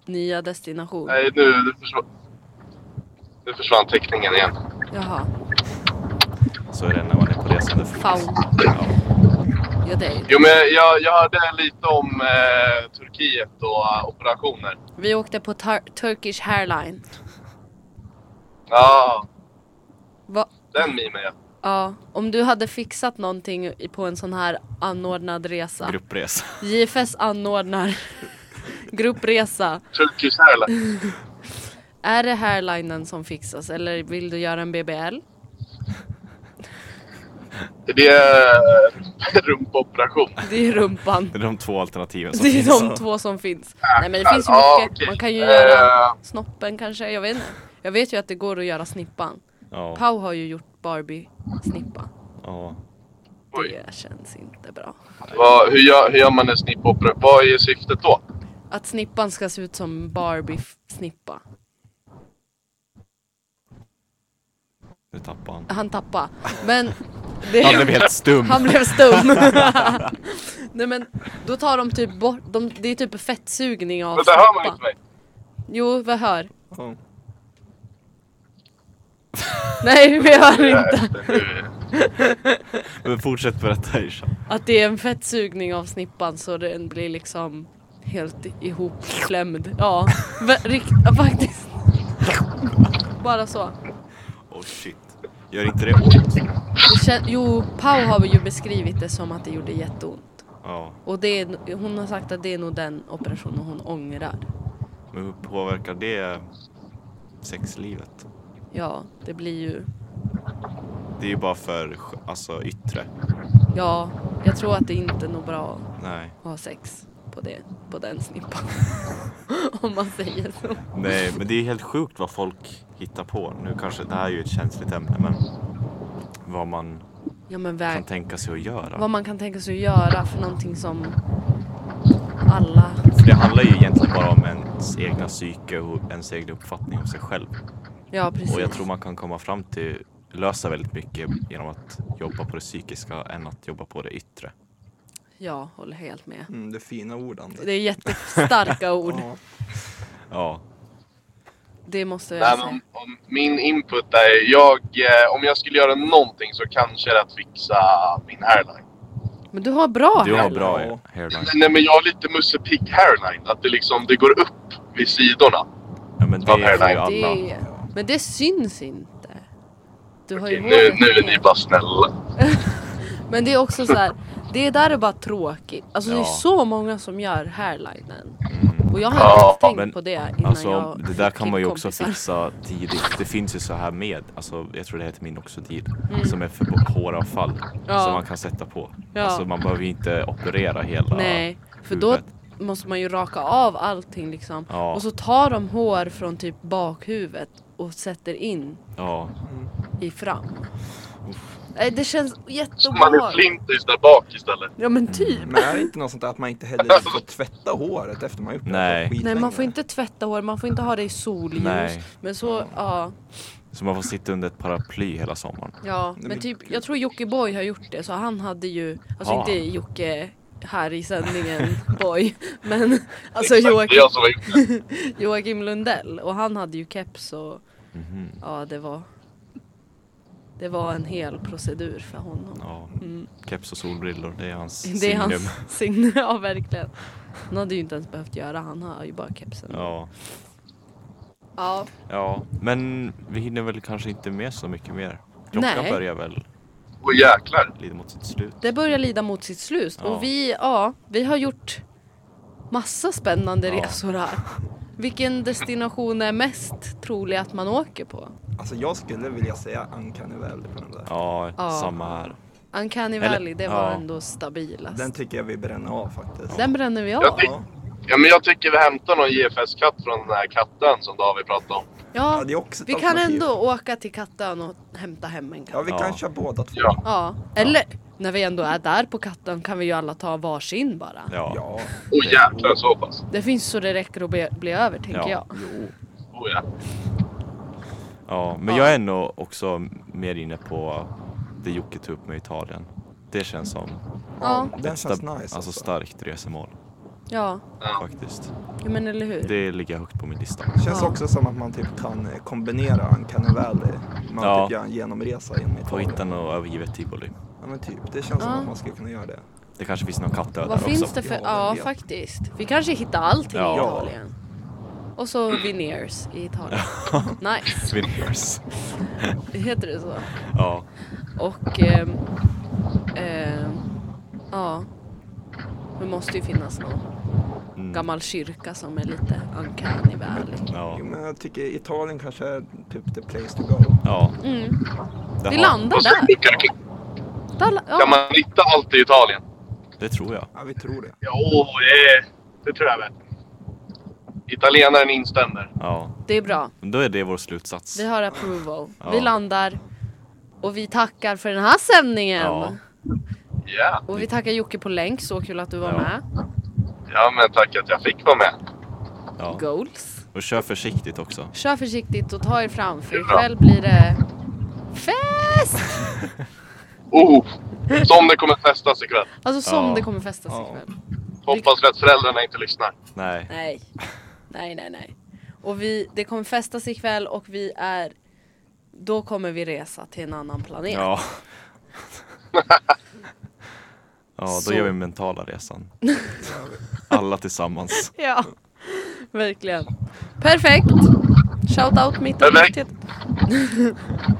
[SPEAKER 2] nya destination?
[SPEAKER 5] Nej, nu, nu, försvann, nu försvann teckningen igen.
[SPEAKER 2] Jaha.
[SPEAKER 3] Ha- Så är det när man är på resande fot.
[SPEAKER 2] Faun.
[SPEAKER 3] Ja.
[SPEAKER 2] Ja, det är ju-
[SPEAKER 5] Jo, men jag, jag hörde lite om eh, Turkiet och eh, operationer.
[SPEAKER 2] Vi åkte på Tur- Turkish Hairline.
[SPEAKER 5] Ja,
[SPEAKER 2] Va?
[SPEAKER 5] den memen jag.
[SPEAKER 2] Ja, om du hade fixat någonting i- på en sån här anordnad resa.
[SPEAKER 3] Gruppresa.
[SPEAKER 2] JFS anordnar gruppresa.
[SPEAKER 5] Turkish Airlines.
[SPEAKER 2] Är det hairlinen som fixas eller vill du göra en BBL?
[SPEAKER 5] Är det eh, rumpoperation?
[SPEAKER 2] Det är rumpan.
[SPEAKER 3] Det är de två alternativen som
[SPEAKER 2] Det är
[SPEAKER 3] finns.
[SPEAKER 2] de två som finns. Nej men det finns ju
[SPEAKER 5] Ja,
[SPEAKER 2] mycket.
[SPEAKER 5] Ah, okej.
[SPEAKER 2] Man kan ju
[SPEAKER 5] Eh.
[SPEAKER 2] göra snoppen kanske, jag vet inte. Jag vet ju att det går att göra snippan.
[SPEAKER 3] Ja.
[SPEAKER 2] Pau har ju gjort Barbie-snippa.
[SPEAKER 3] Ja.
[SPEAKER 5] Oj.
[SPEAKER 2] Det känns inte bra.
[SPEAKER 5] Vad, hur, gör, hur gör man en snippoperation? Vad är syftet då?
[SPEAKER 2] Att snippan ska se ut som Barbie-snippa.
[SPEAKER 3] Nu tappade han.
[SPEAKER 2] Han tappade. Men det,
[SPEAKER 3] Han blev helt stum.
[SPEAKER 2] han blev stum. Nej men då tar de typ bort, de, det är typ fettsugning av
[SPEAKER 5] Vänta, hör man inte mig?
[SPEAKER 2] Jo, vi hör.
[SPEAKER 4] Ja.
[SPEAKER 2] Nej, vi hör inte.
[SPEAKER 3] Men fortsätt berätta Isha.
[SPEAKER 2] Att det är en fettsugning av snippan så den blir liksom helt ihopklämd. Ja, vä- rikt- ja, faktiskt. Bara så.
[SPEAKER 3] Oh shit. Gör inte det ont?
[SPEAKER 2] Det kän- jo, Pau har ju beskrivit det som att det gjorde jätteont.
[SPEAKER 3] Ja.
[SPEAKER 2] Och det är, hon har sagt att det är nog den operationen hon ångrar.
[SPEAKER 3] Men hur påverkar det sexlivet?
[SPEAKER 2] Ja, det blir ju...
[SPEAKER 3] Det är ju bara för sk- alltså, yttre.
[SPEAKER 2] Ja, jag tror att det inte är nog bra
[SPEAKER 3] Nej.
[SPEAKER 2] att ha sex på, det, på den snippan. Om man säger så.
[SPEAKER 3] Nej, men det är helt sjukt vad folk hittar på. Nu kanske det här är ju ett känsligt ämne, men vad man
[SPEAKER 2] Ja, men
[SPEAKER 3] kan
[SPEAKER 2] väg,
[SPEAKER 3] tänka sig att göra.
[SPEAKER 2] vad man kan tänka sig att göra för någonting som alla...
[SPEAKER 3] För det handlar ju egentligen bara om ens egna psyke och ens egna uppfattning om sig själv.
[SPEAKER 2] Ja, precis.
[SPEAKER 3] Och jag tror man kan komma fram till lösa väldigt mycket genom att jobba på det psykiska än att jobba på det yttre.
[SPEAKER 2] Jag håller helt med.
[SPEAKER 4] Mm, det fina ordandet.
[SPEAKER 2] Det är jättestarka ord.
[SPEAKER 4] Ja.
[SPEAKER 3] Ja,
[SPEAKER 2] Det måste
[SPEAKER 5] Nej,
[SPEAKER 2] jag säga.
[SPEAKER 5] men om min input är, jag, eh, om jag skulle göra någonting så kanske det är att fixa min hairline.
[SPEAKER 2] Men du har bra
[SPEAKER 3] du har
[SPEAKER 2] här.
[SPEAKER 3] bra hairline.
[SPEAKER 5] Nej men jag har lite Musse Pigg hairline, att det liksom det går upp vid sidorna.
[SPEAKER 3] Ja, men det
[SPEAKER 5] Bra
[SPEAKER 3] är ju
[SPEAKER 5] hairline.
[SPEAKER 3] alla.
[SPEAKER 2] Det, men det syns inte. Du har ju
[SPEAKER 5] Nu,
[SPEAKER 2] håret
[SPEAKER 5] nu är
[SPEAKER 2] med.
[SPEAKER 5] ni bara snälla.
[SPEAKER 2] Men det är också så här, det där är bara tråkigt. Alltså det är
[SPEAKER 3] Ja. Mm.
[SPEAKER 2] så många som gör hairlinen. Och jag har
[SPEAKER 5] Ja,
[SPEAKER 2] inte tänkt
[SPEAKER 3] men
[SPEAKER 2] på det innan
[SPEAKER 3] Alltså
[SPEAKER 2] jag
[SPEAKER 3] det där
[SPEAKER 2] fick
[SPEAKER 3] kan man ju också
[SPEAKER 2] kompisar.
[SPEAKER 3] fixa tidigt. Det finns ju så här med, alltså jag tror det heter minoxidil, som är för håravfall
[SPEAKER 2] Mm. Ja.
[SPEAKER 3] som man kan sätta på.
[SPEAKER 2] Ja.
[SPEAKER 3] Alltså man behöver ju inte operera hela
[SPEAKER 2] Nej, för då
[SPEAKER 3] huvudet.
[SPEAKER 2] måste man ju raka av allting liksom.
[SPEAKER 3] Ja.
[SPEAKER 2] Och så tar de hår från typ bakhuvudet och sätter in
[SPEAKER 3] Ja,
[SPEAKER 2] i fram. Nej, det känns
[SPEAKER 5] Man är
[SPEAKER 2] jätteobehagligt.
[SPEAKER 5] flintis där bak istället.
[SPEAKER 2] Ja men typ.
[SPEAKER 4] Men är det inte något sånt där att man inte heller får tvätta håret efter man har gjort det?
[SPEAKER 3] Nej.
[SPEAKER 4] Skitlänge.
[SPEAKER 2] Nej man får inte tvätta hår, man får inte ha det i solljus.
[SPEAKER 3] Nej.
[SPEAKER 2] Men så, ja.
[SPEAKER 3] så man får sitta under ett paraply hela sommaren.
[SPEAKER 2] Ja, men
[SPEAKER 4] men
[SPEAKER 2] typ, jag tror Jockiboi har gjort det så han hade ju, alltså
[SPEAKER 3] Ja.
[SPEAKER 2] inte Jocke här i sändningen Boy, men alltså
[SPEAKER 5] Exakt, det är
[SPEAKER 2] Joakim,
[SPEAKER 5] jag som har gjort det.
[SPEAKER 2] Joakim Lundell och han hade ju keps och
[SPEAKER 3] Mhm.
[SPEAKER 2] ja det var det var en hel procedur för honom.
[SPEAKER 3] Ja. Keps och solbrillor, det är hans
[SPEAKER 2] Mm. Det är
[SPEAKER 3] signum.
[SPEAKER 2] hans signum, ja verkligen. Han hade ju inte ens behövt göra, han har ju bara kepsen.
[SPEAKER 3] Ja.
[SPEAKER 2] Ja.
[SPEAKER 3] ja, men vi hinner väl kanske inte med så mycket mer. Klockan
[SPEAKER 2] Nej.
[SPEAKER 3] börjar väl
[SPEAKER 5] Åh jäklar.
[SPEAKER 3] lite mot sitt slut.
[SPEAKER 2] Det börjar lida mot sitt slut
[SPEAKER 3] Ja.
[SPEAKER 2] och vi, ja, vi har gjort massa spännande
[SPEAKER 3] Ja.
[SPEAKER 2] resor här. Vilken destination är mest trolig att man åker på?
[SPEAKER 4] Alltså jag skulle vilja säga Uncanny Valley på den där.
[SPEAKER 3] Ja,
[SPEAKER 2] Ja.
[SPEAKER 3] samma här.
[SPEAKER 2] Uncanny
[SPEAKER 3] Eller-
[SPEAKER 2] Valley, det var
[SPEAKER 3] ja.
[SPEAKER 2] ändå stabilast.
[SPEAKER 4] Den
[SPEAKER 2] Den,
[SPEAKER 4] tycker jag vi bränner av faktiskt.
[SPEAKER 2] bränner vi
[SPEAKER 5] Jag
[SPEAKER 2] av.
[SPEAKER 5] tyck-
[SPEAKER 4] Ja.
[SPEAKER 5] ja, men jag tycker vi hämtar någon JFS-katt från den här katten som David pratade om.
[SPEAKER 2] Ja,
[SPEAKER 4] Ja, det är också ett
[SPEAKER 2] vi kan
[SPEAKER 4] alternativ.
[SPEAKER 2] ändå åka till Kattön och hämta hem en katt.
[SPEAKER 4] Ja,
[SPEAKER 2] Ja,
[SPEAKER 4] vi
[SPEAKER 3] Ja.
[SPEAKER 4] kan köra båda två.
[SPEAKER 5] Ja.
[SPEAKER 2] eller när vi ändå är där på Kattön kan vi ju alla ta varsin bara.
[SPEAKER 3] Ja.
[SPEAKER 4] Ja,
[SPEAKER 5] Åh jäklar så pass.
[SPEAKER 2] Det finns så det räcker att bli, bli över tänker
[SPEAKER 3] Ja.
[SPEAKER 2] jag.
[SPEAKER 4] jo.
[SPEAKER 5] Oh, ja.
[SPEAKER 3] ja, men jag är nog också mer inne på det Jocke tog upp med Italien. Det känns som
[SPEAKER 2] Ja,
[SPEAKER 4] Den känns
[SPEAKER 3] stab-
[SPEAKER 4] nice.
[SPEAKER 3] alltså starkt resemål
[SPEAKER 2] ja,
[SPEAKER 3] faktiskt.
[SPEAKER 2] ja men eller hur.
[SPEAKER 3] Det ligger högt på min lista.
[SPEAKER 4] Känns
[SPEAKER 2] Ja.
[SPEAKER 4] också som att man typ kan eh, kombinera Uncanny Valley med att
[SPEAKER 3] Ja.
[SPEAKER 4] typ göra en genomresa genom
[SPEAKER 3] På
[SPEAKER 4] Italien.
[SPEAKER 3] hittan och övergivet tivoli.
[SPEAKER 4] Ja men typ, det känns
[SPEAKER 2] Ja.
[SPEAKER 4] som att man skulle kunna göra det.
[SPEAKER 3] Det kanske finns någon kattdöd där
[SPEAKER 2] Vad
[SPEAKER 3] också.
[SPEAKER 2] finns det för...
[SPEAKER 4] Ja,
[SPEAKER 2] Ja,
[SPEAKER 4] men-
[SPEAKER 2] faktiskt. Vi kanske hittar allting
[SPEAKER 3] Ja.
[SPEAKER 2] i Italien. Och så Veneers i Italien. Nice.
[SPEAKER 3] Swingers.
[SPEAKER 2] Heter det så?
[SPEAKER 3] Ja,
[SPEAKER 2] Och... ehm, ehm, ja. Det måste ju finnas någon
[SPEAKER 3] Mm.
[SPEAKER 2] gammal kyrka som är lite uncanny valley.
[SPEAKER 3] ja,
[SPEAKER 4] Jo, men jag tycker Italien kanske är typ the place to go.
[SPEAKER 3] ja.
[SPEAKER 2] Mm.
[SPEAKER 3] Det,
[SPEAKER 2] Vi
[SPEAKER 3] har-
[SPEAKER 2] landar
[SPEAKER 5] Och sen,
[SPEAKER 2] där.
[SPEAKER 5] kan,
[SPEAKER 2] Dalla-
[SPEAKER 5] kan
[SPEAKER 2] Ja.
[SPEAKER 5] man hitta allt i Italien?
[SPEAKER 3] det tror jag.
[SPEAKER 4] Ja, vi tror det.
[SPEAKER 6] Ja, åh, det, det tror jag väl.
[SPEAKER 5] Italienaren instämmer.
[SPEAKER 3] Ja,
[SPEAKER 2] Det är bra.
[SPEAKER 3] men då är det vår slutsats.
[SPEAKER 2] Vi har approval.
[SPEAKER 3] Ja.
[SPEAKER 2] Vi landar. Och vi tackar för den här sändningen.
[SPEAKER 3] Ja.
[SPEAKER 5] Ja,
[SPEAKER 2] Och vi tackar Jocke på länk. Så kul att du var
[SPEAKER 3] Ja.
[SPEAKER 2] med.
[SPEAKER 5] ja men tack att jag fick vara med.
[SPEAKER 3] Ja.
[SPEAKER 2] Goals.
[SPEAKER 3] Och kör försiktigt också.
[SPEAKER 2] Kör försiktigt och ta er fram för
[SPEAKER 5] Ja.
[SPEAKER 2] ikväll blir det Fest!
[SPEAKER 5] Oh, som det kommer festas ikväll.
[SPEAKER 2] Alltså som
[SPEAKER 3] Ja.
[SPEAKER 2] det kommer festas
[SPEAKER 4] Ja.
[SPEAKER 2] ikväll.
[SPEAKER 5] Hoppas att föräldrarna inte lyssnar.
[SPEAKER 3] Nej.
[SPEAKER 2] Nej. Nej, nej, nej. Och vi, det kommer festas ikväll och vi är... Då kommer vi resa till en annan planet.
[SPEAKER 3] Ja. ja, då
[SPEAKER 2] Så.
[SPEAKER 3] gör vi mentala resan. Alla tillsammans.
[SPEAKER 2] Ja, verkligen. Perfekt. Shout out mitt och
[SPEAKER 5] Perfekt.
[SPEAKER 2] mitt.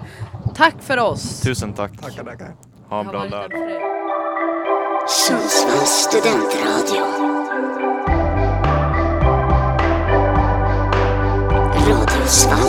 [SPEAKER 2] Tack för oss.
[SPEAKER 3] Tusen tack.
[SPEAKER 4] Tackar, tackar.
[SPEAKER 3] Ha
[SPEAKER 2] Det har
[SPEAKER 3] en bra
[SPEAKER 2] varit
[SPEAKER 3] lördag.
[SPEAKER 2] en fredag.
[SPEAKER 1] Sundsvalls studentradio. Radiosvallet.